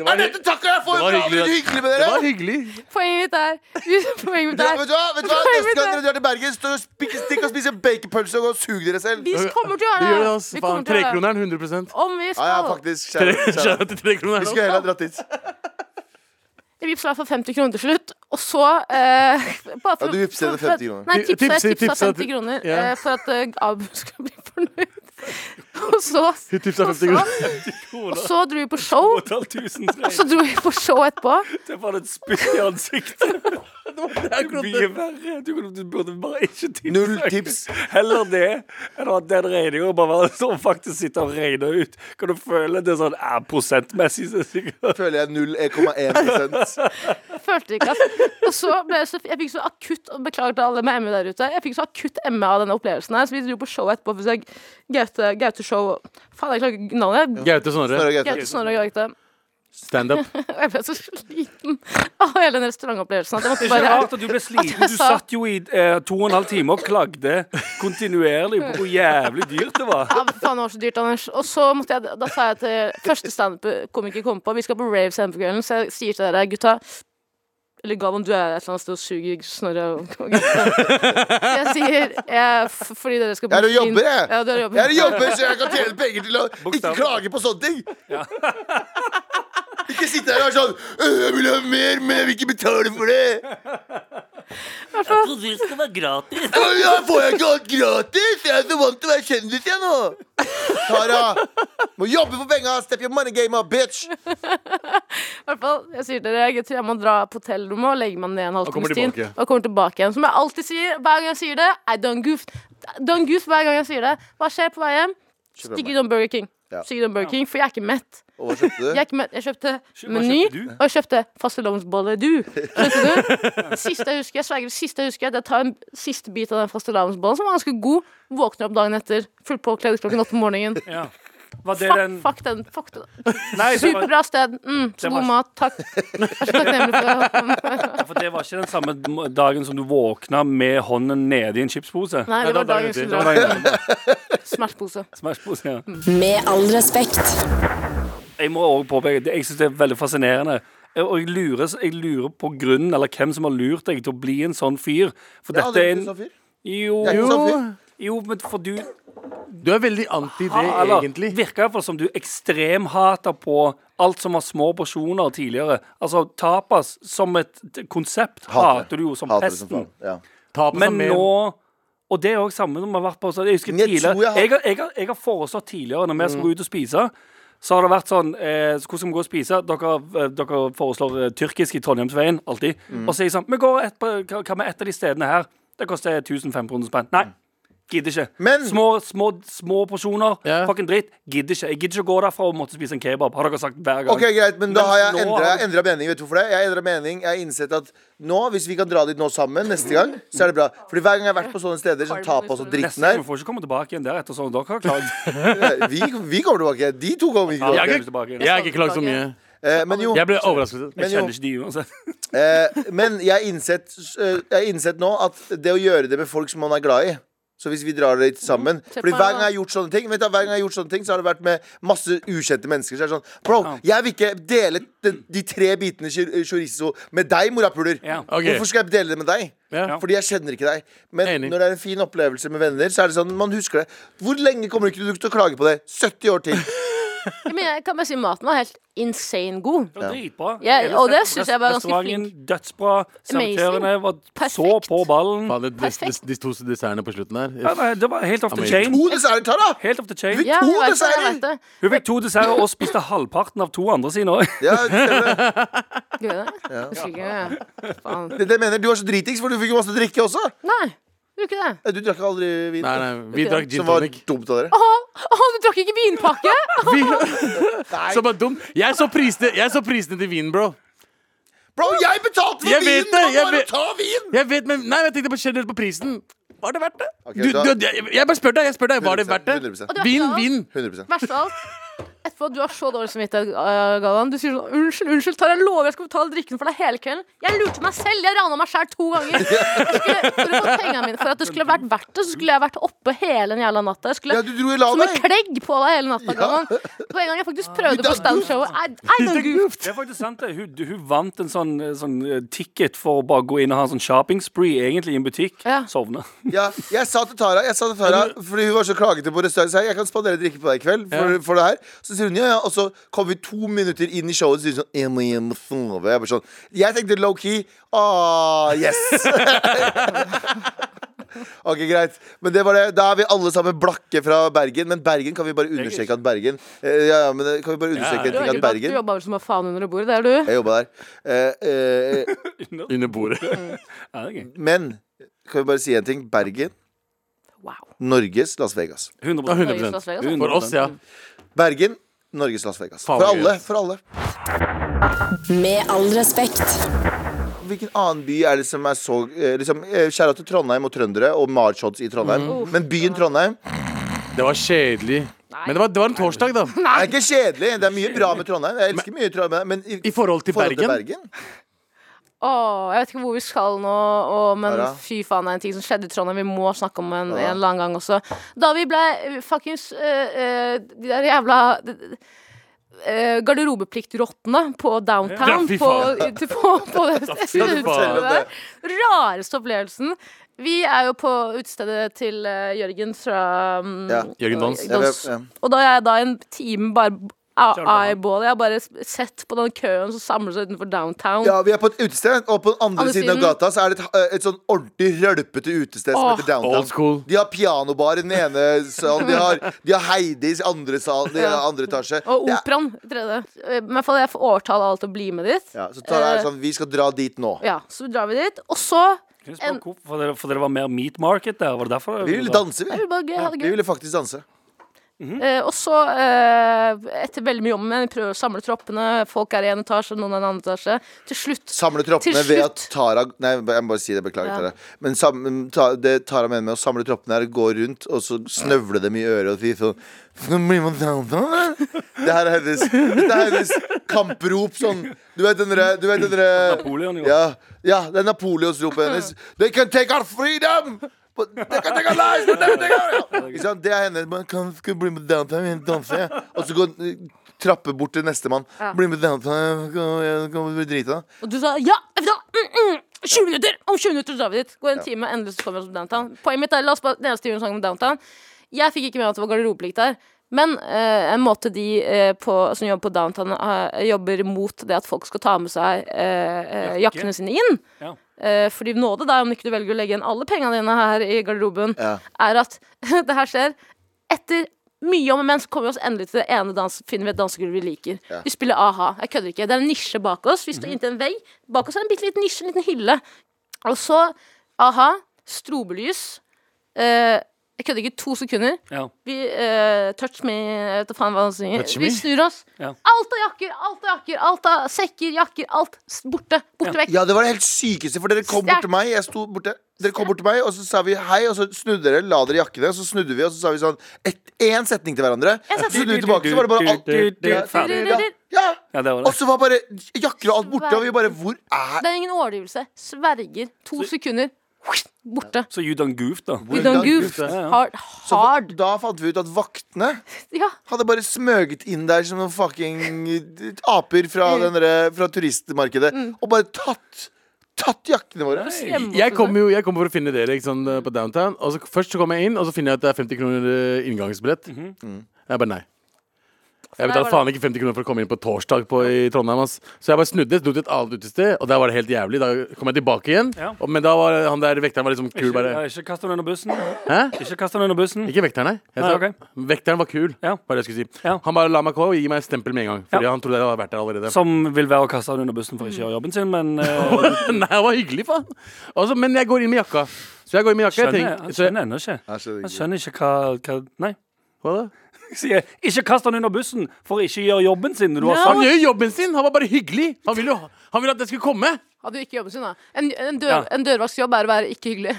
[SPEAKER 6] var
[SPEAKER 3] er
[SPEAKER 6] hy-
[SPEAKER 3] dette takka jeg får?
[SPEAKER 6] det var
[SPEAKER 3] for å ha det
[SPEAKER 6] hyggelig, det.
[SPEAKER 3] hyggelig med
[SPEAKER 6] Det
[SPEAKER 3] dere?
[SPEAKER 6] var hyggelig.
[SPEAKER 5] Poenget mitt er Poenget mitt
[SPEAKER 3] Ja,
[SPEAKER 5] er
[SPEAKER 3] vet du hva? Vet du hva?
[SPEAKER 5] Nei,
[SPEAKER 3] Neste
[SPEAKER 5] vet
[SPEAKER 3] gang
[SPEAKER 5] du-
[SPEAKER 3] dere drar til Bergen, stå og spik- stikk og spise baconpølse og gå og sug dere selv.
[SPEAKER 5] Vi kommer til å gjøre
[SPEAKER 6] Det gjør det,
[SPEAKER 5] det.
[SPEAKER 6] ass.
[SPEAKER 5] Vi
[SPEAKER 6] Faen,
[SPEAKER 5] kommer til å gjøre det.
[SPEAKER 6] Trekroneren 100
[SPEAKER 5] Om vi
[SPEAKER 3] Ja, ja,
[SPEAKER 5] skal.
[SPEAKER 3] faktisk. Kjære, kjære.
[SPEAKER 6] Shout out til trekroneren.
[SPEAKER 3] Vi skulle heller ha dratt dit.
[SPEAKER 5] Jeg vippsa i hvert fall 50 kroner til slutt, og så eh, bare for,
[SPEAKER 3] Ja, du vippset
[SPEAKER 5] for-
[SPEAKER 3] det
[SPEAKER 5] for-
[SPEAKER 3] 50 kroner.
[SPEAKER 5] Nei, tipsa,
[SPEAKER 6] Tipset-
[SPEAKER 5] jeg tipsa
[SPEAKER 6] tipset-
[SPEAKER 5] 50 kroner
[SPEAKER 6] ja.
[SPEAKER 5] eh, for at eh, Abu skulle bli fornøyd. Og så,
[SPEAKER 6] Hun tipsa
[SPEAKER 5] og
[SPEAKER 6] 50
[SPEAKER 5] så,
[SPEAKER 6] kroner.
[SPEAKER 5] og så dro vi på show, og
[SPEAKER 4] 8500
[SPEAKER 5] så dro vi på show etterpå.
[SPEAKER 4] Det var et spytt i ansiktet. Mye verre. Du, kunne- du burde bare ikke tipse.
[SPEAKER 3] Null tips.
[SPEAKER 4] Heller det enn å ha den regninga og bare være sånn faktisk sitte og regne ut. Kan du føle det sånn eh, prosentmessig? Så sikkert.
[SPEAKER 3] Føler jeg 0,1
[SPEAKER 5] Følte ikke at Og så ble jeg så Jeg fikk så akutt og Beklager til alle med ME der ute. Jeg fikk så akutt ME av denne opplevelsen her, så vi dro på show etterpå. For så jeg- Gaute, Gaute Show Faen, jeg klarer ikke navnet.
[SPEAKER 6] Gaute Snorre,
[SPEAKER 3] Snorre
[SPEAKER 5] Gaute
[SPEAKER 3] Gaute.
[SPEAKER 5] Snorre og Gaute.
[SPEAKER 6] standup.
[SPEAKER 5] Og jeg ble så sliten av hele den restaurantopplevelsen at jeg måtte
[SPEAKER 4] Det er ikke
[SPEAKER 5] bare
[SPEAKER 4] rart at du ble sliten. Du satt jo i eh, to og en halv time og klagde kontinuerlig på hvor jævlig dyrt det var.
[SPEAKER 5] Ja, faen, det var så dyrt, Anders. Og så måtte jeg, da sa jeg til første standup-komiker kom på Vi skal på rave senere på kvelden, så jeg sier til dere, gutta Eller Galvan, du er et eller annet sted og suger Snorre og og gutta. Jeg sier jeg, f- Fordi dere skal
[SPEAKER 3] Jeg er og
[SPEAKER 5] bli fin-
[SPEAKER 3] jobber, jeg.
[SPEAKER 5] Ja,
[SPEAKER 3] Jeg
[SPEAKER 5] dere
[SPEAKER 3] er
[SPEAKER 5] jobber.
[SPEAKER 3] i jobber, så jeg kan tjene penger til å ikke
[SPEAKER 4] Bokstavelig.
[SPEAKER 3] klage på sånne ting. Ikke sitte her og være sånn «Øh, 'Jeg vil ha mer, men jeg vil ikke betale for det'.
[SPEAKER 1] trodde det skulle være gratis.
[SPEAKER 3] «Å, Ja, får jeg ikke alt gratis? Jeg er så vant til å være kjendis, jeg nå. Tara, må jobbe for penga. Step your money game up, bitch.
[SPEAKER 5] I hvert fall, jeg sier til dere, gutter, jeg må dra på hotellrommet og legge meg ned en halvtimes
[SPEAKER 6] kommer
[SPEAKER 5] tid.
[SPEAKER 6] tilbake.
[SPEAKER 5] Og kommer tilbake igjen. Som jeg alltid sier hver gang jeg sier det. I don't goof. Don't goof hver gang jeg sier det. Hva skjer på vei hjem? Stikker innom Burger King.
[SPEAKER 3] Ja.
[SPEAKER 5] Stikker innom Burger King, for jeg er ikke mett.
[SPEAKER 3] Og hva kjøpte
[SPEAKER 5] Jeg,
[SPEAKER 3] du?
[SPEAKER 5] er ikke med, jeg kjøpte
[SPEAKER 4] hva
[SPEAKER 5] Meny,
[SPEAKER 4] kjøpte du?
[SPEAKER 5] og jeg kjøpte fastelavnsbolle du. Skjønte du? Siste jeg husker, jeg sverger, det siste jeg husker, er at jeg tar en siste bit av den fastelavnsbollen, som var ganske god, våkner opp dagen etter, fullt påkledd klokken åtte om morgenen.
[SPEAKER 4] Ja. Var det
[SPEAKER 5] Fuck,
[SPEAKER 4] den
[SPEAKER 5] fuck den. Fuck den.
[SPEAKER 4] Nei, det var,
[SPEAKER 5] Superbra sted. Mm, så
[SPEAKER 4] Det var-
[SPEAKER 5] god mat. Takk. Jeg er så takknemlig for det.
[SPEAKER 4] for det var ikke den samme dagen som du våkna med hånden nede i en chipspose?
[SPEAKER 5] Nei, det var
[SPEAKER 6] da dagen
[SPEAKER 5] dagen
[SPEAKER 6] til.
[SPEAKER 5] som
[SPEAKER 4] Det var
[SPEAKER 5] drar.
[SPEAKER 4] den gangen.
[SPEAKER 5] Smertepose.
[SPEAKER 4] Smashpose, ja.
[SPEAKER 7] Med all respekt.
[SPEAKER 4] Jeg må også påpeke det- Jeg synes det er veldig fascinerende Jeg- Og jeg lurer, jeg lurer på grunnen Eller hvem som har lurt deg til å bli en sånn fyr For
[SPEAKER 3] Jeg har
[SPEAKER 4] dette er
[SPEAKER 3] aldri
[SPEAKER 4] en
[SPEAKER 3] blitt sånn fyr. Jeg
[SPEAKER 4] Jo,
[SPEAKER 3] er ikke
[SPEAKER 4] jo,
[SPEAKER 3] sånn fyr. E-
[SPEAKER 4] jo men for du
[SPEAKER 6] Du er veldig anti det,
[SPEAKER 4] har- eller,
[SPEAKER 6] egentlig.
[SPEAKER 4] Virker i hvert fall som du ekstremhater på Alt som har små porsjoner tidligere Altså tapas som et t- konsept
[SPEAKER 3] Hater det.
[SPEAKER 4] Hater du jo som
[SPEAKER 3] Hater det som
[SPEAKER 4] pesten
[SPEAKER 3] faen. Ja.
[SPEAKER 6] Ta på
[SPEAKER 4] Men
[SPEAKER 6] seg mer.
[SPEAKER 4] nå og det er òg samme som vi har vært på sånn- Jeg husker
[SPEAKER 3] Jeg
[SPEAKER 4] tidligere
[SPEAKER 3] tror jeg har- Mm.
[SPEAKER 4] Jeg har, jeg har, jeg har foreslått tidligere, når vi skulle ut og spise, så har det vært sånn eh, så Hvordan skal vi gå og spise? Dere, eh, dere foreslår eh, tyrkisk i Trondheimsveien, alltid.
[SPEAKER 3] Mm.
[SPEAKER 4] Og sier sånn Vi går et, på- hva hva med et av de stedene her? Det koster 1500 spenn. Nei. Gidder ikke.
[SPEAKER 3] Mm. Men-
[SPEAKER 4] små, små, små porsjoner.
[SPEAKER 6] Ja.
[SPEAKER 4] Fucking dritt. Gidder ikke. Jeg gidder ikke å gå derfra og måtte spise en kebab. Har dere sagt hver gang.
[SPEAKER 3] Ok, greit, men da
[SPEAKER 4] Men
[SPEAKER 3] har jeg
[SPEAKER 4] nå
[SPEAKER 3] endret,
[SPEAKER 4] har-
[SPEAKER 3] jeg endret mening, vet du hvorfor det? Jeg har endret mening, jeg har innsett at nå, hvis vi kan dra dit nå sammen neste gang, så er det bra. Fordi hver gang jeg har vært på sånne steder som tapas og sånn dritten
[SPEAKER 4] Neste gang
[SPEAKER 3] her,
[SPEAKER 4] vi får ikke komme tilbake igjen der etter sånn. Dere har klagd.
[SPEAKER 3] vi, vi kommer tilbake. De to kommer ikke tilbake.
[SPEAKER 4] Aldri
[SPEAKER 6] Jeg-
[SPEAKER 4] kommer tilbake igjen.
[SPEAKER 6] Jeg har ikke klagd så mye.
[SPEAKER 3] Eh, men jo,
[SPEAKER 6] Jeg ble overrasket.
[SPEAKER 3] men
[SPEAKER 4] Jeg
[SPEAKER 3] jo
[SPEAKER 4] kjenner ikke de uansett.
[SPEAKER 3] eh, men jeg har innsett, eh, jeg har innsett nå at det å gjøre det med folk som man er glad i så hvis vi drar dit sammen
[SPEAKER 5] Se på
[SPEAKER 3] Fordi
[SPEAKER 5] meg,
[SPEAKER 3] hver gang
[SPEAKER 5] da.
[SPEAKER 3] jeg har gjort sånne ting Vet du, hver gang jeg har gjort sånne ting Så har det vært med masse ukjente mennesker Så er det sånn Bro, jeg vil ikke dele de, de tre bitene chor- chorizo Med deg, morapuler
[SPEAKER 4] Ja.
[SPEAKER 6] Ok.
[SPEAKER 3] Hvorfor skal jeg dele det med deg?
[SPEAKER 6] Ja.
[SPEAKER 3] Fordi jeg kjenner ikke deg. Men
[SPEAKER 6] Enig.
[SPEAKER 3] når det er en fin opplevelse med venner, så er det sånn man husker det. Hvor lenge kommer du ikke til å klage på det? 70 år til.
[SPEAKER 5] Ja, men jeg kan bare si maten var helt insane god.
[SPEAKER 4] Det var dritbra.
[SPEAKER 5] Ja,
[SPEAKER 4] Hele
[SPEAKER 5] og det
[SPEAKER 4] rest-
[SPEAKER 5] synes jeg var ganske
[SPEAKER 4] Restauranten dødsbra. Servitørene var så
[SPEAKER 5] Perfekt.
[SPEAKER 4] på ballen.
[SPEAKER 6] Faen, det- de, de,
[SPEAKER 5] Perfekt.
[SPEAKER 6] de to dessertene på slutten
[SPEAKER 4] Ja,
[SPEAKER 6] her.
[SPEAKER 4] nei, Det var helt off the
[SPEAKER 6] Amazing.
[SPEAKER 4] chain.
[SPEAKER 3] To desserter, Tara!
[SPEAKER 4] Helt off the chain.
[SPEAKER 5] Ja,
[SPEAKER 3] To
[SPEAKER 5] jeg vet det, jeg
[SPEAKER 3] desserter!
[SPEAKER 5] vet det.
[SPEAKER 4] Hun fikk to desserter og spiste halvparten av to andre sine òg.
[SPEAKER 3] Ja, stemmer det.
[SPEAKER 5] Gjør jeg det? Husker ikke. Faen.
[SPEAKER 3] det, er det jeg mener, du var så dritings, for du fikk jo masse drikke også.
[SPEAKER 5] Nei, gjorde ikke det.
[SPEAKER 3] Eh, Du drakk aldri vin.
[SPEAKER 6] Nei, nei, vi drakk gin
[SPEAKER 3] Som var
[SPEAKER 6] tonic.
[SPEAKER 3] dumt av dere.
[SPEAKER 5] Å, å, du drakk ikke vinpakke?
[SPEAKER 6] Vi, som er dum. Jeg så prisene jeg så prisene til vinen, bro.
[SPEAKER 3] Bro, jeg betalte for
[SPEAKER 6] Jeg vet
[SPEAKER 3] vinen! Det
[SPEAKER 6] det,
[SPEAKER 3] var
[SPEAKER 6] jeg
[SPEAKER 3] bare
[SPEAKER 6] vet-
[SPEAKER 3] å ta vin!
[SPEAKER 6] Jeg vet, men, nei, jeg tenkte på generelt på prisen. Var det verdt det?
[SPEAKER 3] Ok,
[SPEAKER 6] Du,
[SPEAKER 3] da-
[SPEAKER 6] du, jeg, jeg bare spør deg, jeg spør deg, var det verdt det?
[SPEAKER 3] 100%.
[SPEAKER 6] Vin, vin.
[SPEAKER 3] 100
[SPEAKER 5] Verst av alt, etterpå etterpå. Du har så dårlig samvittighet, eh, Galvan. Du sier sånn 'Unnskyld, unnskyld, tar jeg lover jeg skal betale drikken for deg hele kvelden'. Jeg lurte meg selv! Jeg rana meg sjæl to ganger. Jeg skulle, for, å få pengene mine, for at det skulle vært verdt det, så skulle jeg vært oppe hele den jævla natta. Jeg skulle
[SPEAKER 3] Ja, du dro i lag,
[SPEAKER 5] som en
[SPEAKER 3] deg.
[SPEAKER 5] klegg på deg hele natta.
[SPEAKER 3] Ja.
[SPEAKER 5] Galvan. På en gang jeg faktisk prøvde
[SPEAKER 3] Ida
[SPEAKER 5] på standshowet. I, I don't goof.
[SPEAKER 4] Det er faktisk sant, det. Hun, hun vant en sånn, sånn eh, ticket for å bare gå inn og ha en sånn shopping spree, egentlig, i en butikk.
[SPEAKER 5] Ja.
[SPEAKER 4] Sovne.
[SPEAKER 3] Ja, jeg sa til Tara, jeg sa til Tara fordi hun var så klagete på restauranten, så jeg, jeg kan spandere drikke på deg i kveld for, for det her. Så sier hun ja, ja, og så kom vi to minutter inn i showet og sier hun sånn jeg må hjem og sove. Jeg, bare sånn, jeg tenkte low-key. Ah, yes! ok, greit. Men det var det. Da er vi alle sammen blakke fra Bergen. Men Bergen kan vi bare understreke at Bergen eh, Ja, ja, men eh, kan vi bare understreke en
[SPEAKER 5] Du,
[SPEAKER 3] ting at
[SPEAKER 5] du
[SPEAKER 3] Bergen
[SPEAKER 5] jobba vel som hva faen under bordet, det er du.
[SPEAKER 3] Jeg jobba der. Eh, eh,
[SPEAKER 6] Under bordet.
[SPEAKER 4] Ja, det er gøy.
[SPEAKER 3] men kan vi bare si en ting? Bergen,
[SPEAKER 5] Wow.
[SPEAKER 3] Norges Las Vegas.
[SPEAKER 4] 100
[SPEAKER 5] Norges Las Vegas, da.
[SPEAKER 6] For oss, ja.
[SPEAKER 3] Bergen, Norges Las Vegas. For
[SPEAKER 6] Faen, gøy.
[SPEAKER 3] alle. for alle
[SPEAKER 7] Med all respekt.
[SPEAKER 3] Hvilken annen by er det som er så eh, liksom, eh, Kjære til Trondheim og trøndere og marshots i Trondheim.
[SPEAKER 6] Mhm.
[SPEAKER 3] Men byen Trondheim
[SPEAKER 6] Det var kjedelig. Men det var, det var en torsdag, da.
[SPEAKER 3] er ikke kjedelig. Det er mye bra med Trondheim. Jeg elsker mye Trondheim Men i,
[SPEAKER 6] I forhold til Bergen.
[SPEAKER 5] Åh, jeg vet ikke hvor vi skal nå, og, men
[SPEAKER 3] Ja da.
[SPEAKER 5] fy faen, det er en ting som skjedde i Trondheim. Vi må snakke om en, en eller annen gang også. Da vi ble eh, fuckings eh, eh, De der jævla eh, garderobeplikt-rottene på downtown.
[SPEAKER 6] Ja, fy
[SPEAKER 5] på,
[SPEAKER 6] faen.
[SPEAKER 5] til- på, på det
[SPEAKER 6] faen.
[SPEAKER 5] utestedet der. Rareste opplevelsen. Vi er jo på utestedet til eh, Jørgen fra mm,
[SPEAKER 3] Ja.
[SPEAKER 6] Jørgen Dons.
[SPEAKER 3] Ja,
[SPEAKER 5] Dans.
[SPEAKER 3] vi- ja.
[SPEAKER 5] Og da er jeg da i en time bare eyeball. Jeg har bare sett på den køen som samler seg utenfor downtown.
[SPEAKER 3] Ja, vi er på et utested, og på den andre
[SPEAKER 5] Andre
[SPEAKER 3] siden av
[SPEAKER 5] siden.
[SPEAKER 3] gata Så er det et, eh, et sånn ordentlig rølpete utested som
[SPEAKER 5] Åh.
[SPEAKER 3] heter Downtown.
[SPEAKER 6] Old school.
[SPEAKER 3] De har pianobar i den ene salen, de har, de har Heidis i andre, sal, de har
[SPEAKER 5] Ja.
[SPEAKER 3] andre etasje.
[SPEAKER 5] Og
[SPEAKER 3] Det er-
[SPEAKER 5] operaen. Tredje. Eh, I hvert fall jeg får overtale alle til å bli med dit.
[SPEAKER 3] Ja, så tar jeg
[SPEAKER 5] Eh,
[SPEAKER 3] sånn Vi skal dra dit nå.
[SPEAKER 5] ja, så drar vi dit. Og så en-
[SPEAKER 4] Fordi det, for det var mer meat market der? Var det derfor?
[SPEAKER 3] Vi ville danse, vi.
[SPEAKER 5] det var gøy, ha det
[SPEAKER 3] Vi
[SPEAKER 5] gøy.
[SPEAKER 3] ville faktisk danse.
[SPEAKER 5] Eh, og så, eh, etter veldig mye om og men, vi prøver å samle troppene. Folk er i en etasje, noen er i en annen etasje. Til slutt
[SPEAKER 3] Samle troppene
[SPEAKER 5] Til
[SPEAKER 3] ved at
[SPEAKER 5] slutt.
[SPEAKER 3] Tara Nei, jeg må bare si det, beklager
[SPEAKER 5] Ja.
[SPEAKER 3] Tara. Men sam, ta, det Tara mener med å samle troppene er å gå rundt og så snøvle dem i øret og si sånn «Skal du bli med downtown, eller?» Det her er hennes, dette er hennes kamprop sånn Du vet den derre- du vet den derre-
[SPEAKER 4] Napoleon, jo.
[SPEAKER 3] ja, ja, det er Napoleonsropet hennes. They can take our freedom! But they can take our lives! But they can take our... Ja, Ikke sant? Det er hennes. Man kan skal bli med downtown, jeg vil danse. jeg». Og så går trapper bort til nestemann.
[SPEAKER 5] Ja.
[SPEAKER 3] Bli med downtown, jeg kan- jeg kan bli drita.
[SPEAKER 5] Og du sa ja! vet du hva, mm, mm, 20 minutter! Om 20 minutter så drar vi dit. Går en time, endelig så kommer vi oss på downtown. Poenget mitt er, la oss bare, Den eneste timen sang om downtown. Jeg fikk ikke med meg at det var garderobeplikt der. Men eh, en måte de eh, på, som jobber på downtown, eh, jobber mot det at folk skal ta med seg eh, eh,
[SPEAKER 4] Jakke.
[SPEAKER 5] jakkene sine inn.
[SPEAKER 4] Ja.
[SPEAKER 5] Eh, fordi nåde deg, om ikke du velger å legge igjen alle pengene dine her i garderoben,
[SPEAKER 3] Ja.
[SPEAKER 5] er at det her skjer etter mye om og men, så kommer vi oss endelig til det ene dans finner vi et dansegulv vi liker. Vi spiller a-ha. Jeg kødder ikke. Det er en nisje bak oss. Vi står inntil en vegg. Bak oss er en bitte liten nisje, en liten hylle. Og så a-ha, strobelys. Eh, jeg kødder ikke. To sekunder.
[SPEAKER 4] Ja.
[SPEAKER 5] Vi eh, touch me Jeg vet da faen hva han synger.
[SPEAKER 6] Touch me?
[SPEAKER 5] Vi snur oss.
[SPEAKER 4] Ja.
[SPEAKER 5] Alt av jakker, alt av jakker, alt av sekker, jakker, alt. s- Borte. Borte vekk.
[SPEAKER 3] Ja, det var det helt sykeste, for dere kom bort til meg. Jeg sto borte Dere kom bort til meg, og så sa vi hei, og så snudde dere, la dere jakkene, og så snudde vi, og så sa vi sånn én setning til hverandre. Så snudde vi tilbake, så var det bare alt
[SPEAKER 4] Ferdig.
[SPEAKER 3] ja, ja.
[SPEAKER 4] Ja, det var
[SPEAKER 3] Og
[SPEAKER 4] det.
[SPEAKER 3] så var bare jakker og alt borte, og vi bare Hvor er
[SPEAKER 5] Det er ingen overdrivelse. Sverger. To sekunder. Borte.
[SPEAKER 4] Så you done goofed, da.
[SPEAKER 5] We don't goof.
[SPEAKER 3] Ja,
[SPEAKER 4] ja.
[SPEAKER 5] Hard.
[SPEAKER 3] Så
[SPEAKER 5] hard.
[SPEAKER 3] Da fant vi ut at vaktene
[SPEAKER 5] Ja.
[SPEAKER 3] hadde bare smøget inn der som noen fucking aper fra, den derre- fra turistmarkedet, og bare tatt Tatt jakkene våre.
[SPEAKER 6] Jeg kom jo jeg kom for å finne dere ikke sånn, på downtown. Og så, først så kom jeg inn, og så finner jeg at det er 50 kroner eh, inngangsbillett.
[SPEAKER 4] Mhm.
[SPEAKER 6] Mm. Jeg bare nei. Jeg
[SPEAKER 5] der var
[SPEAKER 6] betaler faen ikke 50 kroner for å komme inn på torsdag på, i Trondheim. Ass. Så jeg bare snudde, dro til et annet utested, og der var det helt jævlig. Da kom jeg tilbake igjen,
[SPEAKER 4] Ja.
[SPEAKER 6] og, men da var han der vekteren var liksom
[SPEAKER 4] Ja,
[SPEAKER 6] kul, bare.
[SPEAKER 4] Ikke kast den under bussen.
[SPEAKER 6] Hæ?
[SPEAKER 4] Ikke kast den under bussen.
[SPEAKER 6] Ikke vekteren, nei. Jeg
[SPEAKER 4] Nei,
[SPEAKER 6] sa,
[SPEAKER 4] ok.
[SPEAKER 6] Vekteren var kul,
[SPEAKER 4] Ja.
[SPEAKER 6] var det jeg skulle si.
[SPEAKER 4] Ja.
[SPEAKER 6] Han bare la meg gå og gi meg et stempel med en gang, fordi
[SPEAKER 4] Ja.
[SPEAKER 6] han trodde jeg hadde vært der allerede.
[SPEAKER 4] Som vil være å kaste den under bussen for ikke å gjøre jobben sin, men eh,
[SPEAKER 6] Nei, det var hyggelig, faen. Altså, men jeg går inn med jakka. Så jeg går inn med jakka. Jeg
[SPEAKER 4] skjønner, han
[SPEAKER 6] tenker, så jeg,
[SPEAKER 4] skjønner ennå ikke.
[SPEAKER 3] skjønner
[SPEAKER 4] Han skjønner ikke hva, hva Nei.
[SPEAKER 6] hva da?
[SPEAKER 4] Jeg Sier, ikke kast den under bussen for ikke å gjøre jobben sin. Du har
[SPEAKER 5] Ja.
[SPEAKER 6] Han
[SPEAKER 4] sagt
[SPEAKER 6] gjør jo jobben sin! Han var bare hyggelig. Han ville, jo- han ville at jeg skulle komme.
[SPEAKER 5] Hadde jo ikke jobben sin, da. En, en, dør,
[SPEAKER 4] Ja.
[SPEAKER 5] en dørvaktsjobb er å være ikke hyggelig.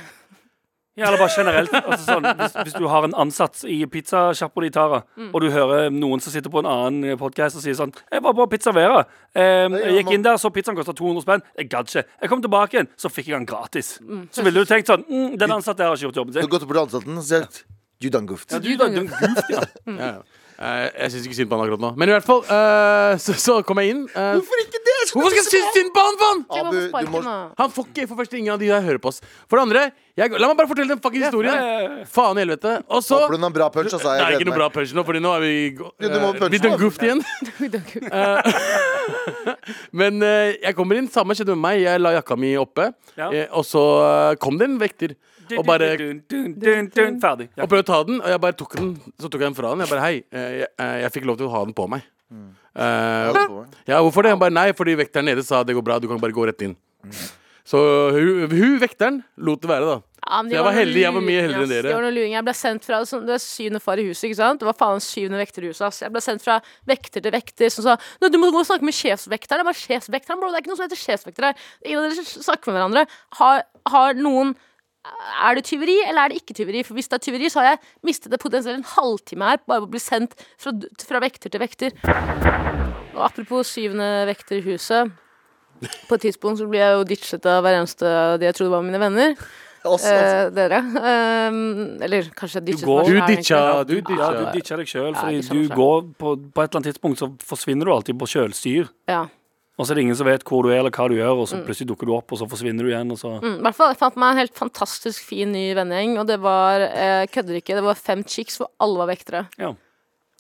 [SPEAKER 4] Ja, eller bare generelt. Altså sånn, hvis, hvis du har en ansatt i pizzasjappa di, Tara, og du hører noen som sitter på en annen podkast og sier sånn 'Jeg var på Pizza Vera. Ehm, jeg gikk inn der, så pizzaen kosta 200 spenn. Jeg gadd ikke. Jeg kom tilbake igjen, så fikk jeg den gratis. Så ville du tenkt sånn mm, 'Den ansatte her har ikke gjort jobben
[SPEAKER 3] Du
[SPEAKER 4] sin'.
[SPEAKER 3] har gått opp til ansatte og sagt You done goofed.
[SPEAKER 4] Du, da, du, goof, ja.
[SPEAKER 6] Ja, ja. Eh, jeg syns ikke synd på han akkurat nå. Men i hvert fall, eh, så, så kom jeg inn. eh,
[SPEAKER 3] Hvorfor ikke det?
[SPEAKER 6] hvorfor skal jeg synes synd på han, faen?!
[SPEAKER 5] Tenk om
[SPEAKER 3] Abu, du
[SPEAKER 5] han får
[SPEAKER 3] må-
[SPEAKER 5] sparken, da.
[SPEAKER 6] Han får ikke for første ingen av de der hører på oss. For det andre, jeg, la meg bare fortelle den fuckings historien. Faen i helvete. Og så
[SPEAKER 3] Håper du har en bra punch, altså.
[SPEAKER 6] Det
[SPEAKER 3] Jeg
[SPEAKER 6] er
[SPEAKER 3] gleder
[SPEAKER 6] ikke noe
[SPEAKER 3] meg.
[SPEAKER 6] bra punch nå, Fordi nå er vi
[SPEAKER 3] Ja, du må
[SPEAKER 6] eh,
[SPEAKER 3] punche
[SPEAKER 6] blitt en
[SPEAKER 3] nå.
[SPEAKER 6] gooft igjen. Men eh, jeg kommer inn, samme skjedde med meg. Jeg la jakka mi oppe,
[SPEAKER 4] Ja.
[SPEAKER 6] eh, og så eh, kom det en vekter. Og bare
[SPEAKER 4] Dun, dun, dun, dun, Ferdig. Ja.
[SPEAKER 6] og prøvde å ta den, og jeg bare tok den. Så tok jeg den fra den. Jeg bare hei, eh, jeg, eh, jeg fikk lov til å ha den på meg. Eh,
[SPEAKER 3] Ja, det får jeg.
[SPEAKER 6] ja, hvorfor det? Han bare nei, fordi vekteren nede sa det går bra, du kan bare gå rett inn. Så hun, hun vekteren lot det være, da.
[SPEAKER 5] Ja, men de
[SPEAKER 6] Så jeg var
[SPEAKER 5] noen
[SPEAKER 6] heldig, jeg var mye
[SPEAKER 5] luringer,
[SPEAKER 6] heldigere enn
[SPEAKER 5] ass.
[SPEAKER 6] dere.
[SPEAKER 5] De var noen luringer. Jeg ble sendt fra sånn, Det var syvende far i huset, ikke sant? Det var faen syvende vekter i huset, ass. Jeg ble sendt fra vekter til vekter som sa Nå, du må gå og snakke med sjefsvekteren. Jeg bare sjefsvekteren, bro. Det er ikke noe som heter sjefsvekter her. Ingen av dere snakker med hverandre. Har, har noen er det tyveri, eller er det ikke tyveri? For hvis det er tyveri, så har jeg mistet det potensielt en halvtime her bare på å bli sendt fra, fra vekter til vekter. Og apropos syvende vekter i huset. På et tidspunkt så ble jeg jo ditchet av hver eneste av de jeg trodde var mine venner.
[SPEAKER 3] Også, altså.
[SPEAKER 5] Eh, dere. Ehm, eller kanskje jeg ditchet
[SPEAKER 4] går-
[SPEAKER 5] meg
[SPEAKER 6] Du
[SPEAKER 5] selv,
[SPEAKER 6] ditcha,
[SPEAKER 5] egentlig.
[SPEAKER 6] du
[SPEAKER 4] Ja,
[SPEAKER 6] ditcha.
[SPEAKER 4] du ditcher deg sjøl,
[SPEAKER 5] Ja,
[SPEAKER 4] fordi
[SPEAKER 5] ditcher meg
[SPEAKER 4] du
[SPEAKER 5] selv.
[SPEAKER 4] går på, på et eller annet tidspunkt så forsvinner du alltid på kjølstyr.
[SPEAKER 5] Ja.
[SPEAKER 4] Og så er det ingen som vet hvor du er eller hva du gjør, og så plutselig dukker du opp, og så forsvinner du igjen, og så
[SPEAKER 5] Mm, I hvert fall jeg fant meg en helt fantastisk fin ny vennegjeng, og det var eh, kødder ikke, det var fem chicks hvor alle var vektere.
[SPEAKER 4] Ja.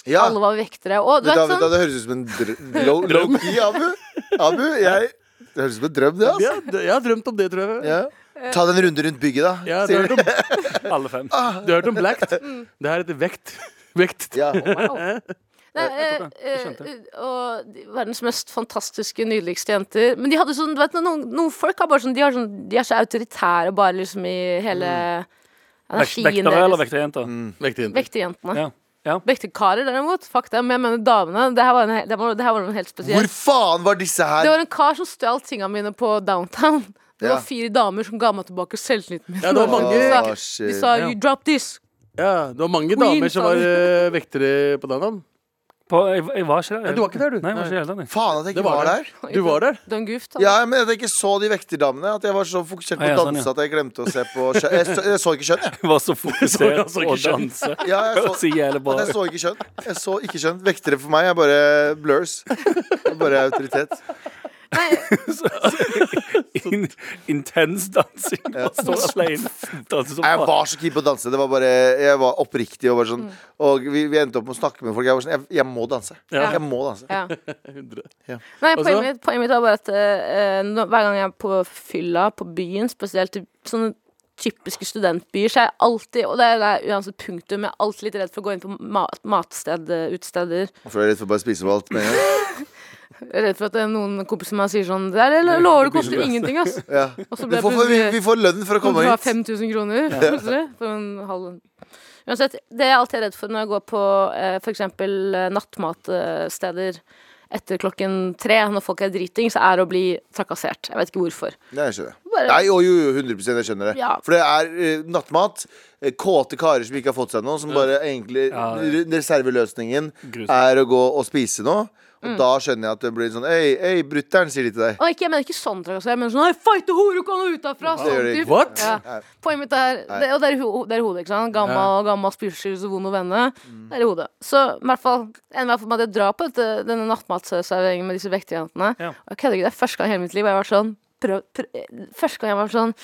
[SPEAKER 3] Ja.
[SPEAKER 5] Alle var vektere. Og du
[SPEAKER 3] Vet du,
[SPEAKER 5] vet
[SPEAKER 3] hva, vet du, hva,
[SPEAKER 5] sånn
[SPEAKER 3] det høres ut som en dr- low- low-key, Abu. Abu, jeg Det høres ut som en drøm, det, altså.
[SPEAKER 6] Ja, d- jeg har drømt om det, tror jeg.
[SPEAKER 3] Ja. Ta den runde rundt bygget, da.
[SPEAKER 6] Ja, du,
[SPEAKER 3] sier
[SPEAKER 6] har
[SPEAKER 3] du.
[SPEAKER 6] hørt om,
[SPEAKER 4] Alle fem.
[SPEAKER 6] du har hørt om Blacked? Det her heter vekt. Vekt.
[SPEAKER 3] Ja.
[SPEAKER 5] Nei, eh, eh, Og de- verdens mest fantastiske, nydeligste jenter. Men de hadde sånn, du vet, noen, noen folk har bare sånn De, har sånn, de er så autoritære bare liksom i hele
[SPEAKER 4] Vek- Mm. Vektere
[SPEAKER 5] energien deres.
[SPEAKER 4] eller vekterjenter?
[SPEAKER 6] Vektjenter.
[SPEAKER 5] Vekterjentene.
[SPEAKER 4] Ja. ja.
[SPEAKER 5] Vekterkarer derimot, fuck dem. Men jeg mener damene. Det her var, en, he- det var, det her var noe helt
[SPEAKER 3] Hvor
[SPEAKER 5] spesielt.
[SPEAKER 3] faen var disse
[SPEAKER 5] Det
[SPEAKER 3] her?
[SPEAKER 5] var en kar som stjal tinga mine på downtown. Det
[SPEAKER 3] Ja.
[SPEAKER 5] var fire damer som ga meg tilbake selvtilliten min.
[SPEAKER 6] Ja, det var mange,
[SPEAKER 5] De sa-
[SPEAKER 3] Å, shit.
[SPEAKER 5] de sa 'you drop this'.
[SPEAKER 6] ja, det var mange
[SPEAKER 5] Queen,
[SPEAKER 6] damer som
[SPEAKER 5] sa
[SPEAKER 6] var
[SPEAKER 5] du.
[SPEAKER 6] eh, vektere på den dagen.
[SPEAKER 4] På, jeg, jeg var ikke der.
[SPEAKER 6] Nei, du var ikke der, du.
[SPEAKER 4] Nei, jeg var ikke helt der, nei.
[SPEAKER 3] Faen at jeg ikke var der.
[SPEAKER 6] Du var der.
[SPEAKER 5] Don't goof, da.
[SPEAKER 3] Ja, men at jeg ikke så de vekterdamene. At jeg var så fokusert på
[SPEAKER 4] Ah, ja,
[SPEAKER 3] å
[SPEAKER 4] sånn,
[SPEAKER 3] danse
[SPEAKER 4] ja.
[SPEAKER 3] at jeg glemte å se på kjønn. Jeg så, jeg så ikke kjønn, jeg.
[SPEAKER 4] Jeg var så
[SPEAKER 6] Sorry,
[SPEAKER 4] fokusert
[SPEAKER 6] altså, ikke
[SPEAKER 4] på å
[SPEAKER 6] skjønt.
[SPEAKER 4] danse.
[SPEAKER 3] Ja, jeg
[SPEAKER 4] Så
[SPEAKER 3] så,
[SPEAKER 4] jævlig bra.
[SPEAKER 3] jeg så ikke kjønn. Jeg så ikke kjønn. Vektere for meg er bare blurs. Det er Bare autoritet.
[SPEAKER 4] In, intens dansing. Bare står alene. Danser som
[SPEAKER 3] Jeg
[SPEAKER 4] faen.
[SPEAKER 3] var så keen på å danse. Det var bare, jeg var oppriktig. Og, bare sånn, og vi, vi endte opp med å snakke med folk. Jeg var sånn, jeg, jeg må danse. Jeg må danse.
[SPEAKER 5] Mm. Ja.
[SPEAKER 3] Ja.
[SPEAKER 5] Nei,
[SPEAKER 6] Og så?
[SPEAKER 5] poenget mitt, poenget mitt var bare at eh, eh, nå- hver gang jeg er på fylla på byen, spesielt i sånne typiske studentbyer, så er jeg alltid Og det er, det er uansett punktum, jeg er alltid litt redd for å gå inn på mat, matsted, eh, utesteder.
[SPEAKER 3] For jeg er redd for bare å spise opp alt. med en gang.
[SPEAKER 5] Jeg er redd for at det er noen kompiser av meg sier sånn Det der eller, lover det koster ingenting, ass.
[SPEAKER 3] Ja.
[SPEAKER 5] Og så
[SPEAKER 3] Vi
[SPEAKER 5] ble jeg
[SPEAKER 3] får, vi,
[SPEAKER 5] plutselig
[SPEAKER 3] vi får lønn for å komme
[SPEAKER 5] Du har
[SPEAKER 3] hit.
[SPEAKER 5] 5000 kroner plutselig, for en halv Uansett, det jeg alltid er redd for når jeg går på eh, for eksempel eh, nattmatsteder etter klokken tre, når folk er driting, så er det å bli trakassert. Jeg vet ikke hvorfor.
[SPEAKER 3] Nei, jeg skjønner.
[SPEAKER 5] Bare-
[SPEAKER 3] Nei, jo, jo, jo, 100 jeg skjønner det.
[SPEAKER 5] Ja.
[SPEAKER 3] For det er eh, nattmat. eh, Kåte karer som ikke har fått seg noe, som bare egentlig
[SPEAKER 4] Ja, ja.
[SPEAKER 3] r- Reserveløsningen
[SPEAKER 4] Grusomt.
[SPEAKER 3] er å gå og spise noe. Og
[SPEAKER 5] Mm.
[SPEAKER 3] da skjønner jeg at det blir sånn Ei, ei, brutter'n, sier de til deg.
[SPEAKER 5] Og ikke, jeg mener ikke sånn trakassering, jeg mener sånn «Nei, Fighte hore, kom nå utafra!
[SPEAKER 3] Det gjør
[SPEAKER 5] Sånn
[SPEAKER 3] det
[SPEAKER 5] typ.
[SPEAKER 3] ikke.
[SPEAKER 6] What?
[SPEAKER 5] Ja. Poenget mitt er det, Og det er, i ho det er i hodet, ikke sant? Gammal, gammal spyrsel, så vond å vende.
[SPEAKER 3] Mm.
[SPEAKER 5] Det er i hodet. Så i hvert fall en hvert fall med at jeg drar på dette, denne nattmatserveringen med disse vektejentene.
[SPEAKER 4] Ja.
[SPEAKER 5] Og jeg kødder ikke, det er første gang i hele mitt liv hvor jeg har vært sånn prøv, prøv, Første gang jeg var sånn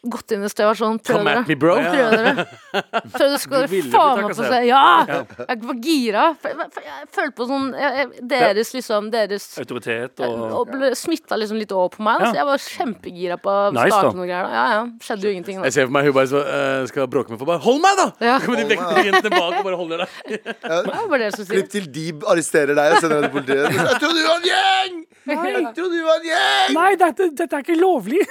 [SPEAKER 5] Gått inn et sted og vært sånn Prøv
[SPEAKER 6] Come at me,
[SPEAKER 5] dere.
[SPEAKER 6] bro.
[SPEAKER 5] Prøv dere. Prøv dere skal
[SPEAKER 4] ville bli
[SPEAKER 5] dere faen meg få
[SPEAKER 4] trakassert.
[SPEAKER 5] se. Ja! Jeg var gira. Jeg, jeg, jeg følte på sånn jeg, jeg, Deres, liksom. Deres
[SPEAKER 4] Autoritet og
[SPEAKER 5] Eh, og ble smitta liksom litt over på meg. Da.
[SPEAKER 4] Ja.
[SPEAKER 5] Så jeg var kjempegira på å
[SPEAKER 4] Nice,
[SPEAKER 5] starte
[SPEAKER 4] da.
[SPEAKER 5] noe greier. Da. Ja, ja. Skjedde jo ingenting.
[SPEAKER 6] Jeg
[SPEAKER 5] Da.
[SPEAKER 6] ser for meg hun bare så, eh, skal bråke med folk. Bare, Hold meg, da!
[SPEAKER 5] Ja.
[SPEAKER 6] Så kommer de vektere jentene bak og bare holder deg.
[SPEAKER 5] Det var det som sier.
[SPEAKER 3] Klipp til de arresterer deg og sender deg til politiet. Jeg trodde du var en gjeng! Jeg trodde du var en gjeng!
[SPEAKER 4] Nei, dette, dette er ikke lovlig!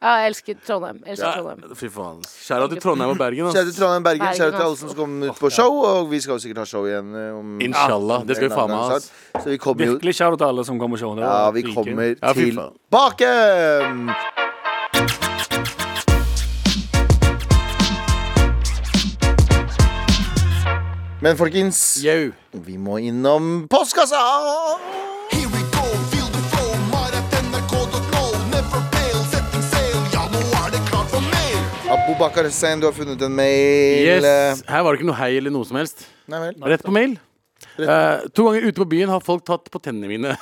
[SPEAKER 5] Ja, jeg elsker Trondheim. Jeg elsker Trondheim.
[SPEAKER 6] Fy faen. Skjæra til Trondheim og Bergen. ass.
[SPEAKER 3] Kjære til Trondheim Bergen,
[SPEAKER 5] Bergen,
[SPEAKER 3] kjære til alle
[SPEAKER 5] altså.
[SPEAKER 3] som kom ut på show. Og vi skal jo sikkert ha show igjen eh, om
[SPEAKER 6] Inshallah. Det skal vi
[SPEAKER 3] en
[SPEAKER 6] faen
[SPEAKER 3] annen
[SPEAKER 6] meg
[SPEAKER 3] gang
[SPEAKER 6] ha. ass.
[SPEAKER 3] snart. Så vi kommer jo
[SPEAKER 4] Virkelig kjære til alle som kommer og ser.
[SPEAKER 3] Ja, vi
[SPEAKER 4] Riken.
[SPEAKER 3] kommer
[SPEAKER 6] Ja, fy faen.
[SPEAKER 3] tilbake! Men folkens,
[SPEAKER 6] Yo.
[SPEAKER 3] vi må innom postkassa!
[SPEAKER 2] Here we go, feel the flow, maratnrk.no. Never fail, setting sail, ja, nå er det klart for mer.
[SPEAKER 3] Abubakar Hussein, du har funnet en mail.
[SPEAKER 6] Yes. Her var det ikke noe hei eller noe som helst.
[SPEAKER 3] Nei vel.
[SPEAKER 6] Rett på mail. Eh, to ganger ute på byen har folk tatt på tennene mine.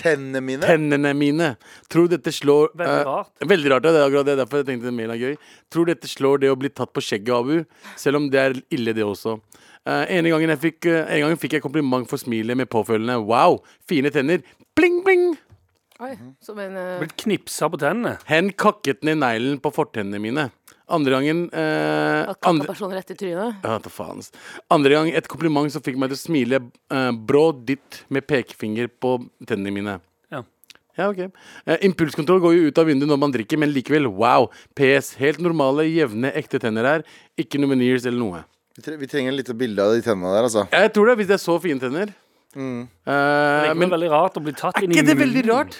[SPEAKER 3] Tennene mine.
[SPEAKER 6] Tennene mine. Tror dette slår
[SPEAKER 4] Veldig
[SPEAKER 6] eh,
[SPEAKER 4] rart.
[SPEAKER 6] veldig rart, ja, det er akkurat det. Derfor jeg tenkte mailen er gøy. Tror dette slår det å bli tatt på skjegget, Abu. Selv om det er ille, det også. Eh, ene gangen jeg fikk, eh, en gang fikk jeg kompliment for smilet med påfølgende wow, fine tenner. Bling, bling!
[SPEAKER 5] Oi, som en eh,
[SPEAKER 4] Blitt knipsa på tennene.
[SPEAKER 6] Hen kakket ned neglen på fortennene mine. Andre gangen eh,
[SPEAKER 5] at
[SPEAKER 6] andre,
[SPEAKER 5] kakkeperson rett i trynet.
[SPEAKER 6] Ja, ta faen. ass. Andre gang et kompliment som fikk meg til å smile eh, brå dytt med pekefinger på tennene mine.
[SPEAKER 4] Ja.
[SPEAKER 6] Ja, ok. Eh, impulskontroll går jo ut av vinduet når man drikker, men likevel, wow. PS. Helt normale, jevne, ekte tenner her. Ikke noe veneers eller noe.
[SPEAKER 3] Vi tre- Vi trenger litt bilde av de tennene der, altså.
[SPEAKER 6] Jeg tror det, hvis det er så fine tenner. Eh,
[SPEAKER 4] Det er
[SPEAKER 6] men
[SPEAKER 4] veldig rart å bli tatt
[SPEAKER 6] er
[SPEAKER 4] inn i
[SPEAKER 6] ikke det veldig
[SPEAKER 4] munnen.
[SPEAKER 6] rart?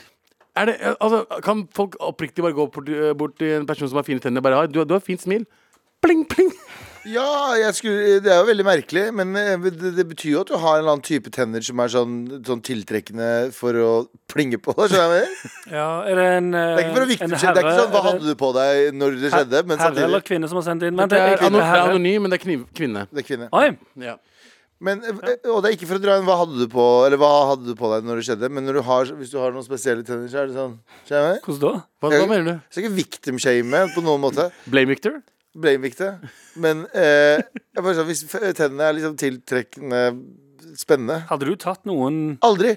[SPEAKER 6] Er det, eh, altså, kan folk oppriktig bare gå bort, eh, bort til en person som har fine tenner, og bare ha du, har- du har fint smil? Pling, pling!
[SPEAKER 3] Ja, jeg skulle, det er jo veldig merkelig, men eh, det, det betyr jo at du har en eller annen type tenner som er sånn, sånn tiltrekkende for å plinge på. skjønner du hva jeg mener?
[SPEAKER 4] Ja, er det en eh,
[SPEAKER 3] Det er ikke for å vikte
[SPEAKER 4] en
[SPEAKER 3] det er ikke sånn hva
[SPEAKER 4] herre-
[SPEAKER 3] hadde du på deg når det skjedde, men
[SPEAKER 4] Herre eller
[SPEAKER 3] samtidig
[SPEAKER 4] kvinne som har sendt inn? Vent,
[SPEAKER 6] Det er,
[SPEAKER 4] jeg-
[SPEAKER 6] ano- det er
[SPEAKER 4] herre-
[SPEAKER 6] anonym, men det er kniv, kvinne.
[SPEAKER 3] det er kvinne.
[SPEAKER 4] Oi,
[SPEAKER 6] Ja.
[SPEAKER 3] Men, eh, og det er ikke for å dra inn hva hadde du på Eller hva hadde du på deg når det skjedde, men når du har, hvis du har noen spesielle tenner, så er det sånn. Skjønner du hva jeg mener?
[SPEAKER 4] hvordan da?
[SPEAKER 6] Hva,
[SPEAKER 3] Jeg-
[SPEAKER 6] hva mener du?
[SPEAKER 3] Så ikke victim-shame på noen måte.
[SPEAKER 6] Blame Victor?
[SPEAKER 3] Blame-vikte. Men eh, jeg bare sånn, hvis f- tennene er liksom tiltrekkende spennende
[SPEAKER 4] Hadde du tatt noen
[SPEAKER 3] Aldri!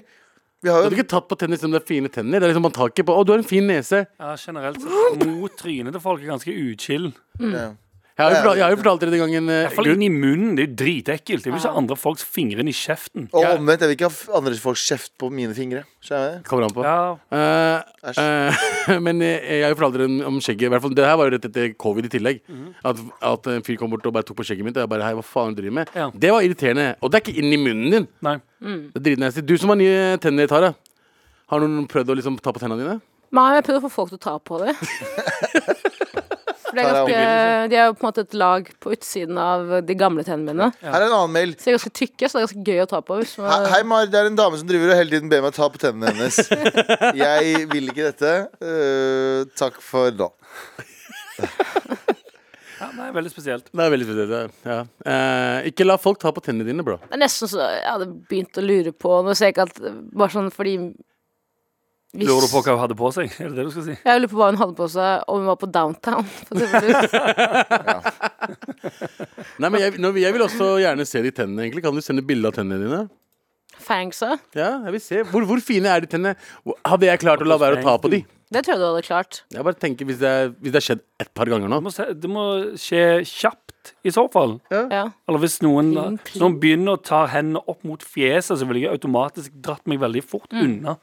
[SPEAKER 3] Vi har
[SPEAKER 6] Du
[SPEAKER 3] jo
[SPEAKER 6] hadde ikke tatt på tenner selv om det er fine tenner. Det er liksom Man tar ikke på 'Å, du har en fin nese'.
[SPEAKER 4] ja, generelt sett mot trynet til folk er ganske uchill?
[SPEAKER 3] eh,
[SPEAKER 6] Jeg har jo, fortalt- jeg har jo fortalt dere den gangen eh,
[SPEAKER 4] Iallfall inn i munnen. Det er jo dritekkelt. Jeg vil ikke ha andre folks fingre inn i kjeften.
[SPEAKER 3] Og omvendt, jeg vil ikke ha f- andre folks kjeft på mine fingre. Skjønner jeg?
[SPEAKER 6] Kommer an på.
[SPEAKER 4] Ja,
[SPEAKER 6] Eh,
[SPEAKER 3] Æsj.
[SPEAKER 6] eh, men eh, jeg har jo fortalt dere om- om skjegget. I hvert fall, det her var jo rett etter covid i tillegg. At, at en fyr kom bort og bare tok på skjegget mitt. Og jeg bare, hei, hva faen driver du med?
[SPEAKER 4] Ja.
[SPEAKER 6] Det var irriterende. Og det er ikke inn i munnen din.
[SPEAKER 4] nei.
[SPEAKER 6] Det er dritnasty. Du som har nye tenner, Tara. Har noen prøvd å liksom ta på tennene dine?
[SPEAKER 5] Nei, jeg prøvde å få folk til å ta på det. For det er
[SPEAKER 3] Ta deg
[SPEAKER 5] ganske, de er jo på en måte et lag på utsiden av de gamle tennene mine.
[SPEAKER 3] Her er en annen mail.
[SPEAKER 5] Så de er ganske tykke, så det er ganske gøy å ta på. Hvis
[SPEAKER 3] He-
[SPEAKER 5] man,
[SPEAKER 3] Hei, Mar. Det er en dame som driver og hele tiden ber meg ta på tennene hennes. Jeg vil ikke dette. Eh, takk for nå.
[SPEAKER 4] Ja, nei, veldig spesielt.
[SPEAKER 6] Det er veldig spesielt. Ja. Eh, ikke la folk ta på tennene dine, bro.
[SPEAKER 5] Det er nesten så jeg hadde begynt å lure på Nå ser jeg ikke at Bare sånn fordi hvis-
[SPEAKER 4] Lurer du på hva hun hadde på seg? Er det det du skal si?
[SPEAKER 5] Jeg lurer på hva hun hadde på seg, om hun var på downtown. For eksempel.
[SPEAKER 6] Nei, men jeg, nå, jeg vil også gjerne se de tennene, egentlig. Kan du sende bilde av tennene dine?
[SPEAKER 5] Fangsa.
[SPEAKER 6] Ja, jeg vil se. Hvor, hvor fine er de tennene? Hvor- Hadde jeg klart å la være å ta på de?
[SPEAKER 5] Det tror jeg du hadde klart.
[SPEAKER 6] Jeg bare tenker hvis det, er, hvis det har skjedd et par ganger nå
[SPEAKER 4] Det må, se, det må skje kjapt, i så fall.
[SPEAKER 5] Ja.
[SPEAKER 4] Eller hvis noen,
[SPEAKER 5] Pling,
[SPEAKER 4] hvis noen begynner å ta hendene opp mot fjeset, så ville jeg automatisk dratt meg veldig fort unna.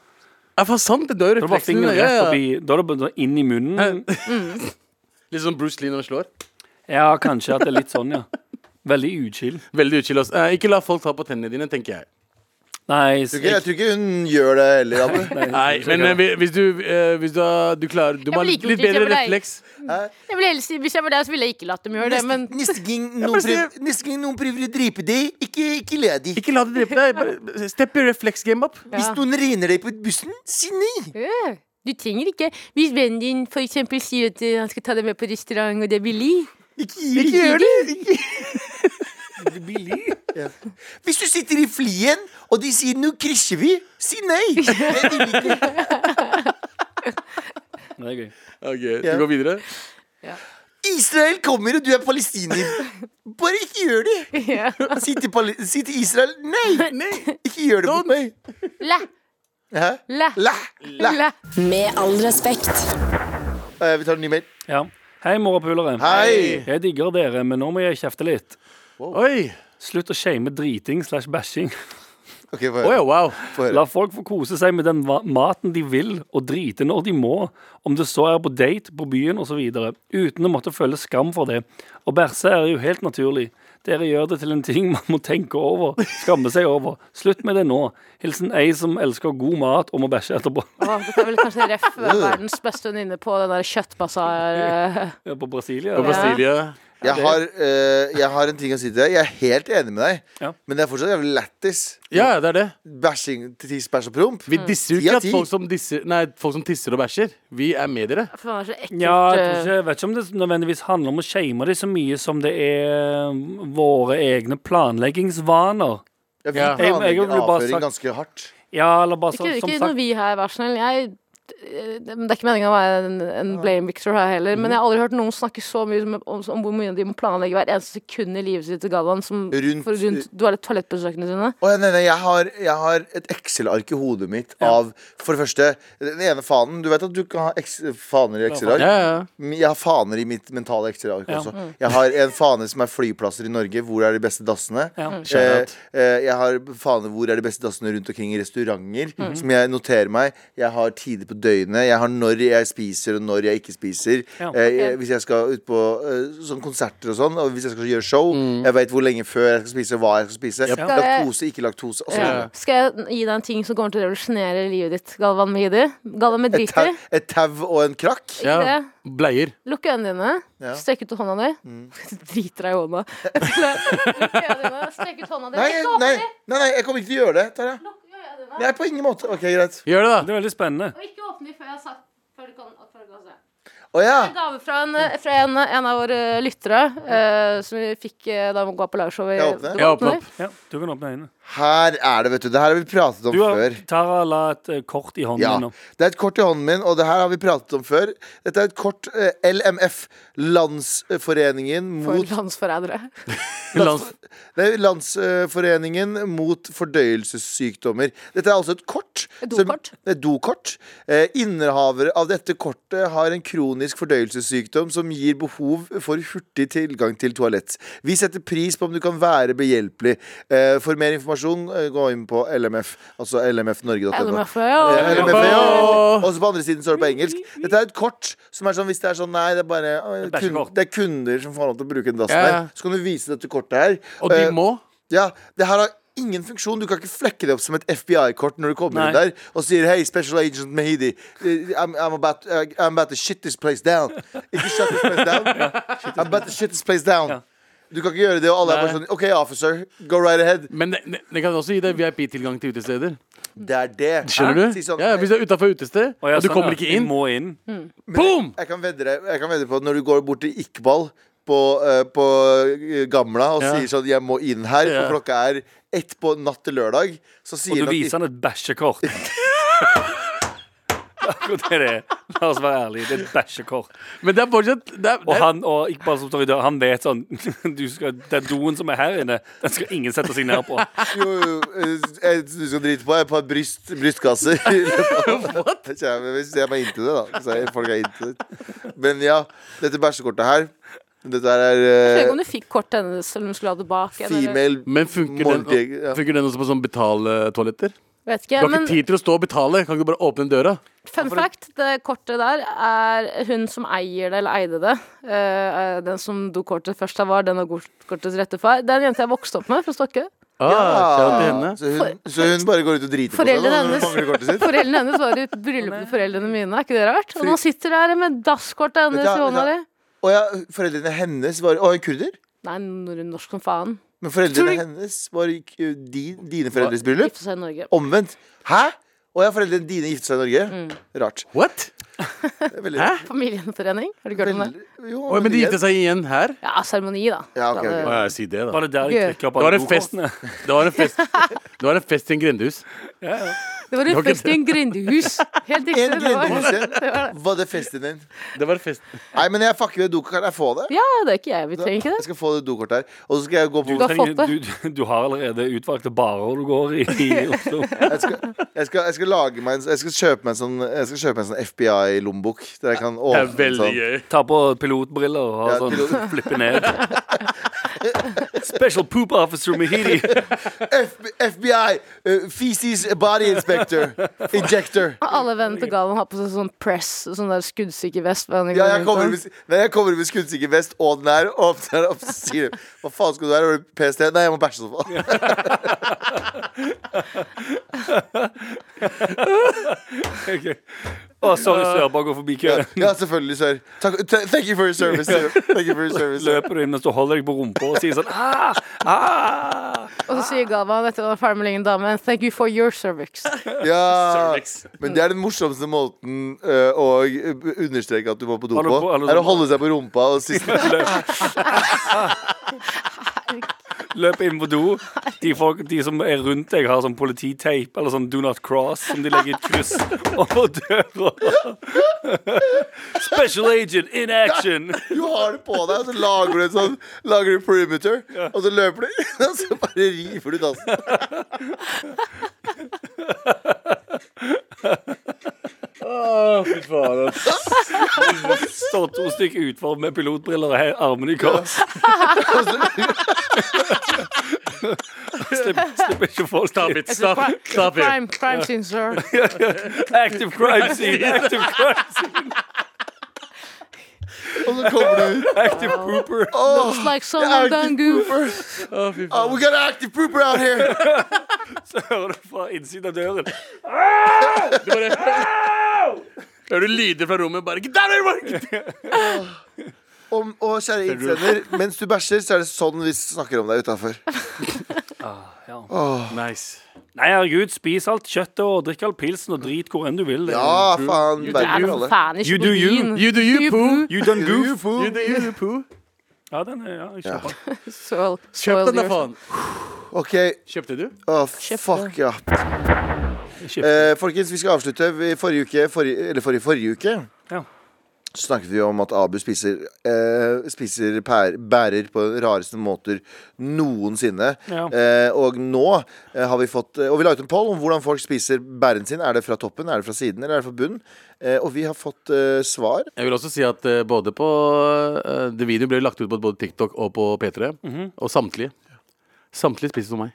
[SPEAKER 6] Ja, faen sant det! Du har jo
[SPEAKER 4] Da er det bare
[SPEAKER 6] refleksen.
[SPEAKER 4] fingeren
[SPEAKER 6] Ja,
[SPEAKER 4] rett
[SPEAKER 6] ja.
[SPEAKER 4] forbi. Da er det bare inn i munnen.
[SPEAKER 6] Litt som Bruce Lee når han slår.
[SPEAKER 4] Ja, kanskje at det er litt sånn, ja. Veldig uchill.
[SPEAKER 6] Veldig utskill, ass. Eh, ikke la folk ta på tennene dine, tenker jeg.
[SPEAKER 4] Nei,
[SPEAKER 3] Jeg tror ikke- Jeg tror ikke hun gjør det heller. Anne.
[SPEAKER 6] Nei, men eh, vi- hvis du, eh, hvis du, har- du klarer Du må ha litt
[SPEAKER 5] liker ikke
[SPEAKER 6] bedre
[SPEAKER 5] kjempe deg.
[SPEAKER 6] refleks.
[SPEAKER 5] Jeg ville helst, hvis jeg var der, så ville jeg ikke latt dem gjøre det, men
[SPEAKER 3] Neste gang noen prøver- neste gang noen prøver å drepe deg, ikke, ikke le av dem.
[SPEAKER 6] Ikke la det drepe deg. Bare Step your reflex game up.
[SPEAKER 5] Ja.
[SPEAKER 3] Hvis noen rener deg på bussen, si nei.
[SPEAKER 5] Øh, Du trenger ikke Hvis vennen din for eksempel sier at eh, han skal ta deg med på restaurant, og det er billig
[SPEAKER 3] Ikke, ikke gjør det. Ja. Hvis du sitter i flien, og de sier 'nå krysjer vi', si nei. Det vil ikke.
[SPEAKER 4] Det er gøy.
[SPEAKER 6] Ok,
[SPEAKER 3] Ja.
[SPEAKER 6] Skal vi gå videre?
[SPEAKER 3] Israel kommer, og du er palestiner. Bare ikke gjør det!
[SPEAKER 5] ja.
[SPEAKER 3] Si til, pali si til Israel nei! Ikke gjør det mot
[SPEAKER 6] Sånn.
[SPEAKER 3] meg!
[SPEAKER 5] La,
[SPEAKER 3] Hæ?
[SPEAKER 5] la,
[SPEAKER 3] La, la.
[SPEAKER 5] la.
[SPEAKER 7] Med all respekt.
[SPEAKER 3] Eh, vi tar en ny mail.
[SPEAKER 4] Ja. Hei, morapulere.
[SPEAKER 3] Hei!
[SPEAKER 4] Jeg digger dere, men nå må jeg kjefte litt.
[SPEAKER 6] Oi!
[SPEAKER 4] Slutt å shame driting slash bæsjing.
[SPEAKER 3] Ok, få
[SPEAKER 6] Å oh, ja,
[SPEAKER 3] høre.
[SPEAKER 6] wow.
[SPEAKER 3] Få høre.
[SPEAKER 4] La folk få kose seg med den va- maten de vil, og drite når de må, om det så er på date, på byen osv., uten å måtte føle skam for det. Og bæsje er jo helt naturlig. Dere gjør det til en ting man må tenke over, skamme seg over. Slutt med det nå. Hilsen ei som elsker god mat og må bæsje etterpå.
[SPEAKER 5] Åh, det er vel kanskje ref verdens beste venninne på den der kjøttbasar... eh,
[SPEAKER 4] Ja, På Brasilia.
[SPEAKER 6] Og
[SPEAKER 5] Ja.
[SPEAKER 6] Brasilia.
[SPEAKER 3] Jeg har, eh, jeg har en ting å si til deg. Jeg er helt enig med deg,
[SPEAKER 4] Ja.
[SPEAKER 3] men det er fortsatt jævlig lættis.
[SPEAKER 6] Ja, det er det.
[SPEAKER 3] Bæsjing, tiss, bæsj og promp.
[SPEAKER 5] Mm.
[SPEAKER 6] Vi disser jo
[SPEAKER 3] Ti av
[SPEAKER 6] ikke at
[SPEAKER 3] ti.
[SPEAKER 6] folk som, disser, nei, folk som tisser og bæsjer. Vi er med dere.
[SPEAKER 5] For det var så ekkelt.
[SPEAKER 4] Ja, jeg, tror
[SPEAKER 5] eh,
[SPEAKER 4] ikke, jeg vet ikke om det nødvendigvis handler om å shame dem så mye som det er mm, våre egne planleggingsvaner.
[SPEAKER 3] Jeg
[SPEAKER 6] Ja.
[SPEAKER 3] fikk
[SPEAKER 4] Jeg- jeg
[SPEAKER 3] planlegge
[SPEAKER 4] ville bare
[SPEAKER 3] avføring
[SPEAKER 4] sagt-
[SPEAKER 3] ganske hardt.
[SPEAKER 4] Ja, eller bare så,
[SPEAKER 5] Ikke,
[SPEAKER 4] som
[SPEAKER 5] ikke
[SPEAKER 4] sagt
[SPEAKER 5] når vi her, vær snill. Jeg eh, det det er ikke meningen å være en, en blame victor her heller, men jeg har aldri hørt noen snakke så mye om, om, om hvor mye de må planlegge hvert eneste sekund i livet sitt til Galvan som
[SPEAKER 3] Rundt-
[SPEAKER 5] for, rundt duale- toalettbesøkene sine.
[SPEAKER 3] Å, ja, nei, nei, jeg, har, jeg har et Excel-ark i hodet mitt av For det første, den ene fanen Du vet at du kan ha ex- faner i Excel-ark?
[SPEAKER 6] Ja, ja, ja.
[SPEAKER 3] Jeg har faner i mitt mentale Excel-ark
[SPEAKER 4] Ja. Mm.
[SPEAKER 3] også. Jeg har en fane som er flyplasser i Norge. Hvor er de beste dassene?
[SPEAKER 4] Ja.
[SPEAKER 3] Eh, eh, jeg har faner hvor er de beste dassene rundt omkring i restauranter.
[SPEAKER 4] Mm.
[SPEAKER 3] Som jeg noterer meg. Jeg har tider på døgnet. Jeg har når jeg spiser, og når jeg ikke spiser.
[SPEAKER 4] Ja.
[SPEAKER 3] Eh, jeg, hvis jeg skal ut på eh, sånn konserter og sånn, og hvis jeg skal gjøre show, jeg veit hvor lenge før jeg skal spise, hva jeg skal spise. Laktose, ikke laktose. Og så
[SPEAKER 5] Ja.
[SPEAKER 3] videre.
[SPEAKER 5] Skal jeg gi deg en ting som kommer til å revolusjonere livet ditt, Galvan Mehidi? Galvan med
[SPEAKER 3] Et tau,
[SPEAKER 5] driter.
[SPEAKER 3] et tau og en krakk.
[SPEAKER 6] ja.
[SPEAKER 5] Ikke det?
[SPEAKER 6] Bleier.
[SPEAKER 5] Lukk øynene dine.
[SPEAKER 3] Ja.
[SPEAKER 5] Strekk ut hånda di. Driter deg i hånda. Lukk øynene dine, strekk ut hånda di.
[SPEAKER 3] Nei,
[SPEAKER 5] Ikke åpne
[SPEAKER 3] nei,
[SPEAKER 5] de!
[SPEAKER 3] nei, nei, jeg kommer ikke til å gjøre det. Tarjei.
[SPEAKER 5] Lukk øynene dine.
[SPEAKER 3] Nei, på ingen måte. Ok, greit.
[SPEAKER 6] Gjør det, da.
[SPEAKER 4] Det er veldig spennende.
[SPEAKER 5] Og ikke åpne de før jeg har sagt før du kan, før du kan se.
[SPEAKER 3] Å ja.
[SPEAKER 5] En gave fra en, fra en, en av våre lyttere eh, som vi fikk eh, da vi var på liveshow. i-
[SPEAKER 3] Jeg åpner.
[SPEAKER 5] Du
[SPEAKER 6] Jeg åpner opp.
[SPEAKER 4] Ja, du kan åpne øynene.
[SPEAKER 3] Her er det, vet du. Det her har vi pratet om
[SPEAKER 4] Du har,
[SPEAKER 3] før.
[SPEAKER 4] Tara la et eh, kort i hånden
[SPEAKER 3] Ja.
[SPEAKER 4] din nå.
[SPEAKER 3] Det er et kort i hånden min, og det her har vi pratet om før. Dette er et kort eh, LMF, Landsforeningen
[SPEAKER 5] For
[SPEAKER 3] mot
[SPEAKER 5] landsforrædere.
[SPEAKER 6] Lands...
[SPEAKER 3] Nei, Landsforeningen mot fordøyelsessykdommer. Dette er altså et kort.
[SPEAKER 5] Et
[SPEAKER 3] som-
[SPEAKER 5] dokort.
[SPEAKER 3] Et dokort. Eh, Innehavere av dette kortet har en kronisk fordøyelsessykdom som gir behov for hurtig tilgang til toalett. Vi setter pris på om du kan være behjelpelig. Eh, For mer informasjon, eh, gå inn på LMF, altså lmfnorge.no.
[SPEAKER 5] LMF, ja.
[SPEAKER 3] Ja, eller med
[SPEAKER 6] Ja.
[SPEAKER 3] fredag. Og så på andre siden står det på engelsk. Dette er et kort som er sånn hvis det er sånn Nei, det er bare øh,
[SPEAKER 4] Det er ikke
[SPEAKER 3] kun,
[SPEAKER 4] kort.
[SPEAKER 3] Det er kunder som får lov til å bruke den dassen
[SPEAKER 6] Ja,
[SPEAKER 3] her.
[SPEAKER 6] ja.
[SPEAKER 3] Så kan du vise dette kortet her.
[SPEAKER 6] Og de
[SPEAKER 3] Eh,
[SPEAKER 6] må.
[SPEAKER 3] ja, det her har ingen funksjon. Du kan ikke flekke det opp som et FBI-kort når du kommer inn
[SPEAKER 4] Nei.
[SPEAKER 3] der og sier Hei, Special Agent Mahidi, eh, I'm, I'm, about, eh, I'm about to shit this place down. Ikke shut this place down. I'm about to shit this place down. Du kan ikke gjøre det, og alle er bare sånn OK, officer, go right ahead.
[SPEAKER 6] Men det, det- det kan også gi deg VIP-tilgang til utesteder.
[SPEAKER 3] Det er det.
[SPEAKER 6] Skjønner du?
[SPEAKER 3] Si sånn,
[SPEAKER 6] Ja, Hvis du er utafor utested,
[SPEAKER 4] Å, ja,
[SPEAKER 6] og du
[SPEAKER 4] sånn,
[SPEAKER 6] kommer
[SPEAKER 4] ja.
[SPEAKER 6] ikke
[SPEAKER 4] Vi
[SPEAKER 6] inn,
[SPEAKER 4] Må inn.
[SPEAKER 6] boom!
[SPEAKER 3] Jeg kan vedde, deg- jeg kan vedde på at når du går bort til Iqbal på, eh, på eh, Gamla og
[SPEAKER 6] Ja.
[SPEAKER 3] sier sånn 'jeg må inn her',
[SPEAKER 6] Ja.
[SPEAKER 3] og klokka er ett på natt til lørdag, så
[SPEAKER 4] Og
[SPEAKER 3] sier
[SPEAKER 4] du
[SPEAKER 3] nok
[SPEAKER 4] viser han et bæsjekort. Akkurat det det er. La oss være ærlige. Det er et bæsjekort.
[SPEAKER 6] Men det er fortsatt det er,
[SPEAKER 4] Og
[SPEAKER 6] det er,
[SPEAKER 4] han og Iqbal som står i døra, han vet sånn du skal, Den doen som er her inne, den skal ingen sette seg ned på.
[SPEAKER 3] Jo, jo, eh, jeg- du skal drite på et par bryst, brystkasser. i løpet av- Det kommer- Hvis jeg er meg inntil det, da. Så er folk er inntil det. Men ja, dette bæsjekortet her Dette her
[SPEAKER 5] Jeg vet ikke
[SPEAKER 3] er
[SPEAKER 5] om du fikk kortet hennes eller om du skulle ha det bak.
[SPEAKER 3] eh,
[SPEAKER 5] igjen, Eller,
[SPEAKER 3] female
[SPEAKER 6] Men funker den,
[SPEAKER 3] Morgentig, ja.
[SPEAKER 6] funker den også på sånn betaletoaletter?
[SPEAKER 5] vet
[SPEAKER 6] Du
[SPEAKER 5] ikke,
[SPEAKER 6] har ikke
[SPEAKER 5] men
[SPEAKER 6] tid til å stå og betale. Kan ikke du bare åpne døra?
[SPEAKER 5] fun fact, det kortet der er hun som eier det, eller eide det. eh, eh, den som dokortet først her var, den har kortets rette far. Det er en jente jeg vokste opp med fra Stokke.
[SPEAKER 6] Ah, kjære til henne.
[SPEAKER 3] ja. så, hun, så hun bare går ut og driter på seg?
[SPEAKER 5] Foreldrene
[SPEAKER 3] da, når hun
[SPEAKER 5] hennes.
[SPEAKER 3] mangler kortet sitt?
[SPEAKER 5] Foreldrene hennes var i bryllupet til foreldrene mine. Er ikke det rart? Og nå sitter dere her med dasskortet hennes
[SPEAKER 3] Vet
[SPEAKER 5] i
[SPEAKER 3] du hva,
[SPEAKER 5] hånda di.
[SPEAKER 3] vet Å ja, foreldrene hennes var Å, en kurder?
[SPEAKER 5] Nei, nor- norsk som faen.
[SPEAKER 3] Men
[SPEAKER 5] Tror
[SPEAKER 3] foreldrene
[SPEAKER 5] du-
[SPEAKER 3] hennes var i k- di- dine foreldres bryllup?
[SPEAKER 5] Gifte seg i Norge.
[SPEAKER 3] Omvendt. Hæ? Å ja, foreldrene dine giftet seg i Norge?
[SPEAKER 5] Mm.
[SPEAKER 3] Rart.
[SPEAKER 6] What?
[SPEAKER 3] Det er veldig,
[SPEAKER 6] Hæ?
[SPEAKER 5] Familiegjenforening. Har du ikke hørt om det?
[SPEAKER 3] veldig, jo,
[SPEAKER 6] Oi, men de giftet seg igjen her?
[SPEAKER 5] Ja, seremoni, da.
[SPEAKER 3] Ja, ok, ok.
[SPEAKER 5] Da det-
[SPEAKER 6] Å, ja, si det, da.
[SPEAKER 4] Var det der de
[SPEAKER 5] Gøy.
[SPEAKER 4] trykka på
[SPEAKER 6] Det var
[SPEAKER 4] alle
[SPEAKER 6] en fest.
[SPEAKER 4] dokortene?
[SPEAKER 6] Det var en fest Det var en fest i en grendehus.
[SPEAKER 5] Det var en
[SPEAKER 6] ikke
[SPEAKER 5] fest i en grendehus. Helt riktig.
[SPEAKER 3] En
[SPEAKER 5] det var-
[SPEAKER 3] grendehus
[SPEAKER 5] det
[SPEAKER 3] igjen.
[SPEAKER 5] var det.
[SPEAKER 3] Var det festen din?
[SPEAKER 6] Det var en fest
[SPEAKER 3] Nei, men jeg fucker med dokortet. Kan jeg få det?
[SPEAKER 5] Ja, det er ikke jeg. Vi trenger ikke
[SPEAKER 3] Jeg
[SPEAKER 5] det.
[SPEAKER 3] skal få det dokortet her. Og så skal jeg gå på
[SPEAKER 5] Du har fått det.
[SPEAKER 4] du, du, du har allerede utvalgte barer du går i i Oslo.
[SPEAKER 3] Jeg skal, jeg skal, jeg skal lage meg en Jeg skal kjøpe meg en sånn Jeg skal kjøpe meg en sånn FBI-lommebok. Der jeg kan
[SPEAKER 6] Det
[SPEAKER 3] åpne
[SPEAKER 6] er veldig
[SPEAKER 3] sånn.
[SPEAKER 6] gøy.
[SPEAKER 4] Ta på pilotbriller og
[SPEAKER 3] Ja,
[SPEAKER 4] sånn
[SPEAKER 3] pilot-
[SPEAKER 4] flippe ned. Special poop officer Mahidi.
[SPEAKER 3] F- FBI! eh, feces Body Inspector. Injector.
[SPEAKER 5] Alle vennene til Galen har på seg sånn press, sånn der skuddsikker vest. hver gang de
[SPEAKER 3] Ja,
[SPEAKER 5] går
[SPEAKER 3] jeg
[SPEAKER 5] rundt
[SPEAKER 3] kommer
[SPEAKER 5] om.
[SPEAKER 3] med, nei, jeg kommer med skuddsikker vest og den her, åpner den opp og sier Hva faen skal du være? Var det PST? Nei, jeg må bæsje så faen.
[SPEAKER 4] Ok. Å, sorry, Sørborg går forbi køen.
[SPEAKER 3] Ja, selvfølgelig, sir. Takk, th- thank you for your service, sir. Thank you for your service, sir.
[SPEAKER 4] Løper du inn mens du holder deg på rumpa og sier sånn ah, ah.
[SPEAKER 5] Og så sier Galvan etter å være ferdig med lenge dame Thank you for your cervix.
[SPEAKER 3] Ja.
[SPEAKER 6] Cervix.
[SPEAKER 3] Men det er den morsomste måten øh, å understreke at du må på do
[SPEAKER 4] Har du
[SPEAKER 3] på.
[SPEAKER 4] på- har du
[SPEAKER 3] Er å
[SPEAKER 4] sånn-
[SPEAKER 3] holde seg på rumpa og siste
[SPEAKER 4] Løper inn på do. De, folk, de som er rundt deg, har sånn polititeip eller sånn Do Not Cross som de legger i et kryss over døra. Special agent in action.
[SPEAKER 3] Du har det på deg, og så lager du en sånn Lager du perimeter, og så løper du, og så bare river du dassen.
[SPEAKER 4] Står to stykker utfor med pilotbriller og he- armene i kors.
[SPEAKER 3] Og så-
[SPEAKER 4] Slipp, slipper ikke folk
[SPEAKER 6] Stop it, stop, stop it.
[SPEAKER 5] Crime, crime scene, sir.
[SPEAKER 4] Active crime scene, active crime scene,
[SPEAKER 3] Og så kommer du ut.
[SPEAKER 4] active pooper.
[SPEAKER 5] Looks like someone done goof.
[SPEAKER 3] Ah, we got an active pooper out here!
[SPEAKER 4] Så hører du fra innsiden av døren.
[SPEAKER 6] Hører du lyder fra rommet, bare Get down here, Mark!
[SPEAKER 3] Og, og kjære innsender, mens du bæsjer, så er det sånn vi snakker om deg utafor.
[SPEAKER 6] Nice.
[SPEAKER 4] Nei, herregud, spis alt kjøttet og drikk all pilsen og drit hvor enn du vil.
[SPEAKER 3] Ja, faen.
[SPEAKER 5] Er
[SPEAKER 3] Verden
[SPEAKER 5] det
[SPEAKER 3] alle.
[SPEAKER 5] faen
[SPEAKER 4] You
[SPEAKER 5] ikke
[SPEAKER 4] do you.
[SPEAKER 5] protein?
[SPEAKER 6] You do you, poo.
[SPEAKER 4] You done goof.
[SPEAKER 6] You do you, poo.
[SPEAKER 4] Ja, den er, ja, jeg kjøper den.
[SPEAKER 5] Soil-
[SPEAKER 6] Kjøp den, da,
[SPEAKER 5] soil
[SPEAKER 6] faen.
[SPEAKER 3] OK.
[SPEAKER 6] Kjøpte du?
[SPEAKER 3] Å, fuck, ja.
[SPEAKER 4] Jeg kjøper den.
[SPEAKER 3] Eh, folkens, vi skal avslutte. I forrige uke, forrige, eller forrige, forrige uke
[SPEAKER 4] Ja.
[SPEAKER 3] Så snakket vi om at Abu spiser, eh, spiser pær, bærer på de rareste måter noensinne.
[SPEAKER 4] Ja.
[SPEAKER 3] Eh, og nå eh, har vi fått Og vi la ut en poll om hvordan folk spiser bæren sin. Er det fra toppen, er det fra siden, eller er det fra bunnen? Eh, og vi har fått eh, svar.
[SPEAKER 6] Jeg vil også si at eh, både på eh, Det videoen ble lagt ut på både TikTok og på P3. Og samtlige. Samtlige spiser som meg.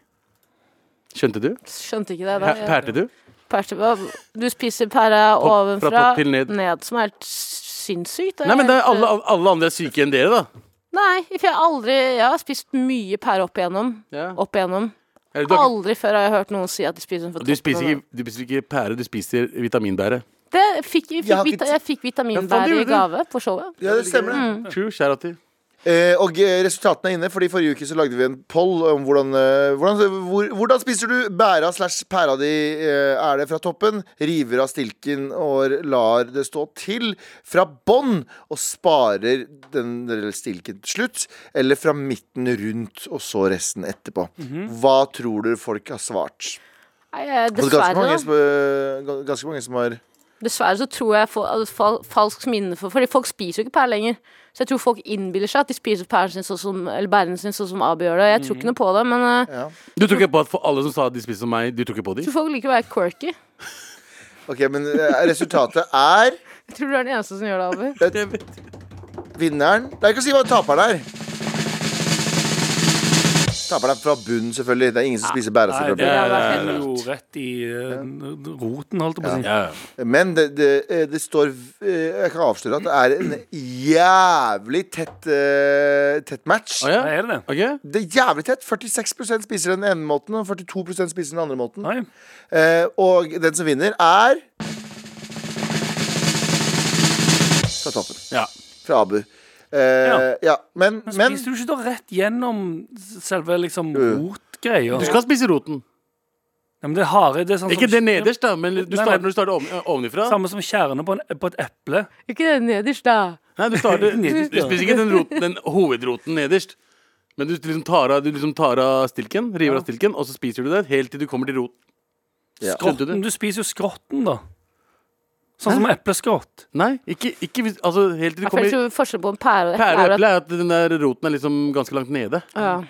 [SPEAKER 6] Skjønte du?
[SPEAKER 5] Skjønte ikke det.
[SPEAKER 6] Pæ-
[SPEAKER 5] Da.
[SPEAKER 6] Pærte du?
[SPEAKER 5] Pære- Du spiser pæra
[SPEAKER 6] fra
[SPEAKER 5] ovenfra,
[SPEAKER 6] topp til ned.
[SPEAKER 5] som er helt sinnssykt.
[SPEAKER 6] Nei, men det er
[SPEAKER 5] helt-
[SPEAKER 6] alle, alle andre er syke enn dere, da.
[SPEAKER 5] Nei, for jeg har aldri Jeg har spist mye pære opp igjennom.
[SPEAKER 6] Ja.
[SPEAKER 5] Opp igjennom.
[SPEAKER 6] Eller Du, har ikke-
[SPEAKER 5] Aldri før har jeg hørt noen si at de spiser sånn den fra
[SPEAKER 6] du,
[SPEAKER 5] toppen
[SPEAKER 6] spiser
[SPEAKER 5] av den.
[SPEAKER 6] ikke, du spiser ikke pære, du spiser vitaminbære.
[SPEAKER 5] Det fikk, jeg, fikk,
[SPEAKER 3] Jeg har ikke-
[SPEAKER 5] vita, jeg fikk
[SPEAKER 6] Ja, faen,
[SPEAKER 5] vitaminbær
[SPEAKER 6] du
[SPEAKER 5] i
[SPEAKER 6] gjorde
[SPEAKER 5] gave på showet.
[SPEAKER 3] Ja, det stemmer. det.
[SPEAKER 6] True, skjær av til.
[SPEAKER 3] Eh, og eh, resultatene er inne, Fordi forrige uke så lagde vi en poll om hvordan eh, hvordan, hvor, hvordan spiser du bæra slash pæra di? Eh, er det fra toppen? River av stilken og lar det stå til fra bånn og sparer den der stilken til slutt? Eller fra midten rundt og så resten etterpå? Hva tror du folk har svart?
[SPEAKER 5] Nei, jeg-
[SPEAKER 3] Og det er Ganske
[SPEAKER 5] Dessverre,
[SPEAKER 3] mange,
[SPEAKER 5] da.
[SPEAKER 3] som, eh, gans- ganske mange som har
[SPEAKER 5] Dessverre så tror jeg for, at fal, falskt minne for Fordi folk spiser jo ikke pære lenger. Så jeg tror folk innbiller seg at de spiser pæren sin sånn som Eller bæren sin sånn som Abi gjør det. Jeg tror
[SPEAKER 6] Mhm.
[SPEAKER 5] ikke noe på det, men eh, jeg
[SPEAKER 6] Du tror ikke på at for alle som sa at de spiser som meg, du tror ikke på de?
[SPEAKER 5] tror folk liker å være quirky.
[SPEAKER 3] Ok, men eh, resultatet er
[SPEAKER 5] Jeg tror du er den eneste som gjør det, Abi.
[SPEAKER 3] Vinneren Det er ikke å si hva taperen er. Taperen er fra bunnen, selvfølgelig. Det er ingen som spiser bæra
[SPEAKER 4] Nei,
[SPEAKER 3] fra
[SPEAKER 4] det
[SPEAKER 3] bunnen.
[SPEAKER 4] er jo rett i eh, roten, holdt jeg på å si.
[SPEAKER 6] Ja.
[SPEAKER 3] Men det, det, eh, det står eh, Jeg kan avsløre at det er en jævlig tett, eh, tett match.
[SPEAKER 6] Å ja?
[SPEAKER 4] Nei, er det det?
[SPEAKER 6] Ok?
[SPEAKER 3] Det er jævlig tett. 46 spiser den ene måten, og 42 spiser den andre måten.
[SPEAKER 4] Nei.
[SPEAKER 3] Eh, og den som vinner, er Fra toppen.
[SPEAKER 6] Ja.
[SPEAKER 3] Fra Abu. Eh, ja. Men,
[SPEAKER 4] Men
[SPEAKER 3] men
[SPEAKER 4] spiser du ikke da rett gjennom selve liksom
[SPEAKER 3] Jo.
[SPEAKER 4] rotgreia?
[SPEAKER 6] Du skal spise roten.
[SPEAKER 4] Ja, men det er harde, det er sånn som-
[SPEAKER 6] Ikke det nederst, da, men du
[SPEAKER 4] Nei,
[SPEAKER 6] starter
[SPEAKER 4] nei.
[SPEAKER 6] når du starter oven- ovenifra.
[SPEAKER 4] Samme som kjerner på, en- på et eple.
[SPEAKER 5] Ikke det nederst, da.
[SPEAKER 6] Nei, du, starter,
[SPEAKER 4] Nederst,
[SPEAKER 6] du
[SPEAKER 4] ja.
[SPEAKER 6] spiser ikke den, roten, den hovedroten nederst. Men du liksom tar av, du liksom tar av stilken, river av stilken, og så spiser du det helt til du kommer til roten.
[SPEAKER 3] Ja.
[SPEAKER 6] Skjønte du?
[SPEAKER 4] Men du spiser jo skrotten, da. Sånn som epleskrott.
[SPEAKER 6] Nei, ikke, ikke hvis- Altså, helt til du
[SPEAKER 5] Jeg føler
[SPEAKER 6] kommer
[SPEAKER 5] ikke forskjell på en pære og et
[SPEAKER 6] Pære og
[SPEAKER 5] eple.
[SPEAKER 6] eple er at den der roten er liksom ganske langt nede.
[SPEAKER 5] Ja.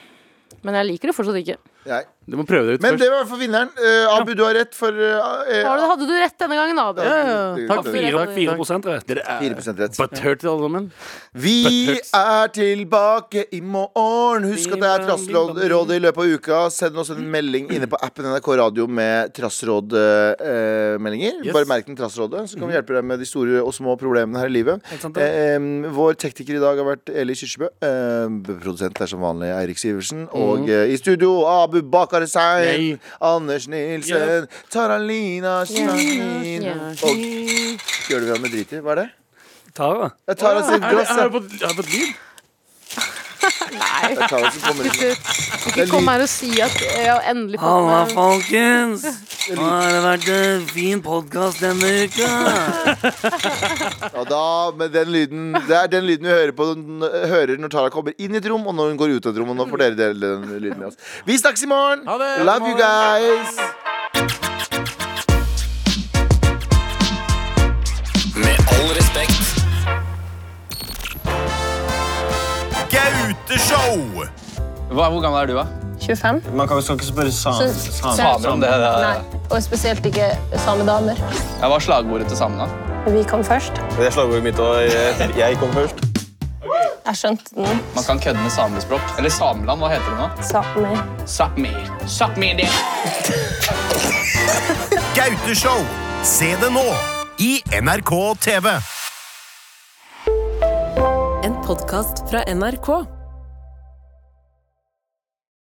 [SPEAKER 5] Men jeg liker det fortsatt ikke.
[SPEAKER 3] Nei.
[SPEAKER 6] Du må prøve det ut
[SPEAKER 3] Men
[SPEAKER 6] først.
[SPEAKER 3] det var i hvert fall vinneren. Eh, Abu, du har rett for eh, eh,
[SPEAKER 5] Har du, hadde du rett denne gangen, Abu?
[SPEAKER 3] Ja,
[SPEAKER 6] ja. Takk.
[SPEAKER 5] Fire-
[SPEAKER 4] Fire-
[SPEAKER 5] Takk.
[SPEAKER 4] 4 rett.
[SPEAKER 6] Dere er
[SPEAKER 3] 4 rett.
[SPEAKER 6] butthurt alle sammen.
[SPEAKER 3] Vi
[SPEAKER 6] Butters.
[SPEAKER 3] er tilbake i morgen. Husk at det er Trassrådet i løpet av uka. Send oss en
[SPEAKER 6] Mm.
[SPEAKER 3] melding inne på appen NRK Radio med trassrådmeldinger.
[SPEAKER 6] Yes. Mm.
[SPEAKER 3] Bare merk den Trassrådet, så kan vi hjelpe deg med de store og små problemene her i livet.
[SPEAKER 4] Helt sant, det.
[SPEAKER 3] Eh, em, vår tekniker i dag har vært Eli Kirsebø. Eh, produsent er som vanlig Eirik Sivertsen. Og eh, i studio Abu Bakar Hussein.
[SPEAKER 6] Mm. Yay.
[SPEAKER 3] Anders Nilsen. Taralina Steiner. Og Gjør det hverandre drit i. Hva er det?
[SPEAKER 8] Tara.
[SPEAKER 3] Det er Tara sitt
[SPEAKER 6] Ah, Er det-
[SPEAKER 3] glass.
[SPEAKER 6] Har
[SPEAKER 3] ja.
[SPEAKER 6] jeg fått- har jeg fått lyd?
[SPEAKER 3] Det er Tara som kommer inn.
[SPEAKER 5] Slutt. Ikke kom her og si at jeg har endelig fått
[SPEAKER 4] Halla,
[SPEAKER 5] meg
[SPEAKER 4] folkens! Nå har det vært en fin podkast denne uka.
[SPEAKER 3] Ja, da, med den lyden, det er den lyden vi hører, på, n- hører når Tara kommer inn i et rom, og når hun går ut av et rom. Og nå får dere dele den lyden med oss. Vi snakkes i morgen!
[SPEAKER 6] Ha det!
[SPEAKER 3] Love you guys!
[SPEAKER 2] Med all respekt. Gauteshow!
[SPEAKER 9] Hva, hvor gammel er du, da?
[SPEAKER 10] 25.
[SPEAKER 2] Man kan jo ikke spørre
[SPEAKER 10] Så-
[SPEAKER 2] samer.
[SPEAKER 9] Samer om det. det.
[SPEAKER 10] Nei, og spesielt ikke samedamer.
[SPEAKER 9] Jeg var slagordet til samene.
[SPEAKER 10] Vi kom først.
[SPEAKER 2] Det er slagordet mitt, og jeg- jeg kom først.
[SPEAKER 10] Jeg skjønte den.
[SPEAKER 9] Man kan kødde med samespråk. Eller Sameland, hva heter det nå?
[SPEAKER 10] Samer.
[SPEAKER 9] Sápmi. Sápmi det.
[SPEAKER 2] Gauteshow. Se det nå i NRK TV.
[SPEAKER 7] En podkast fra NRK.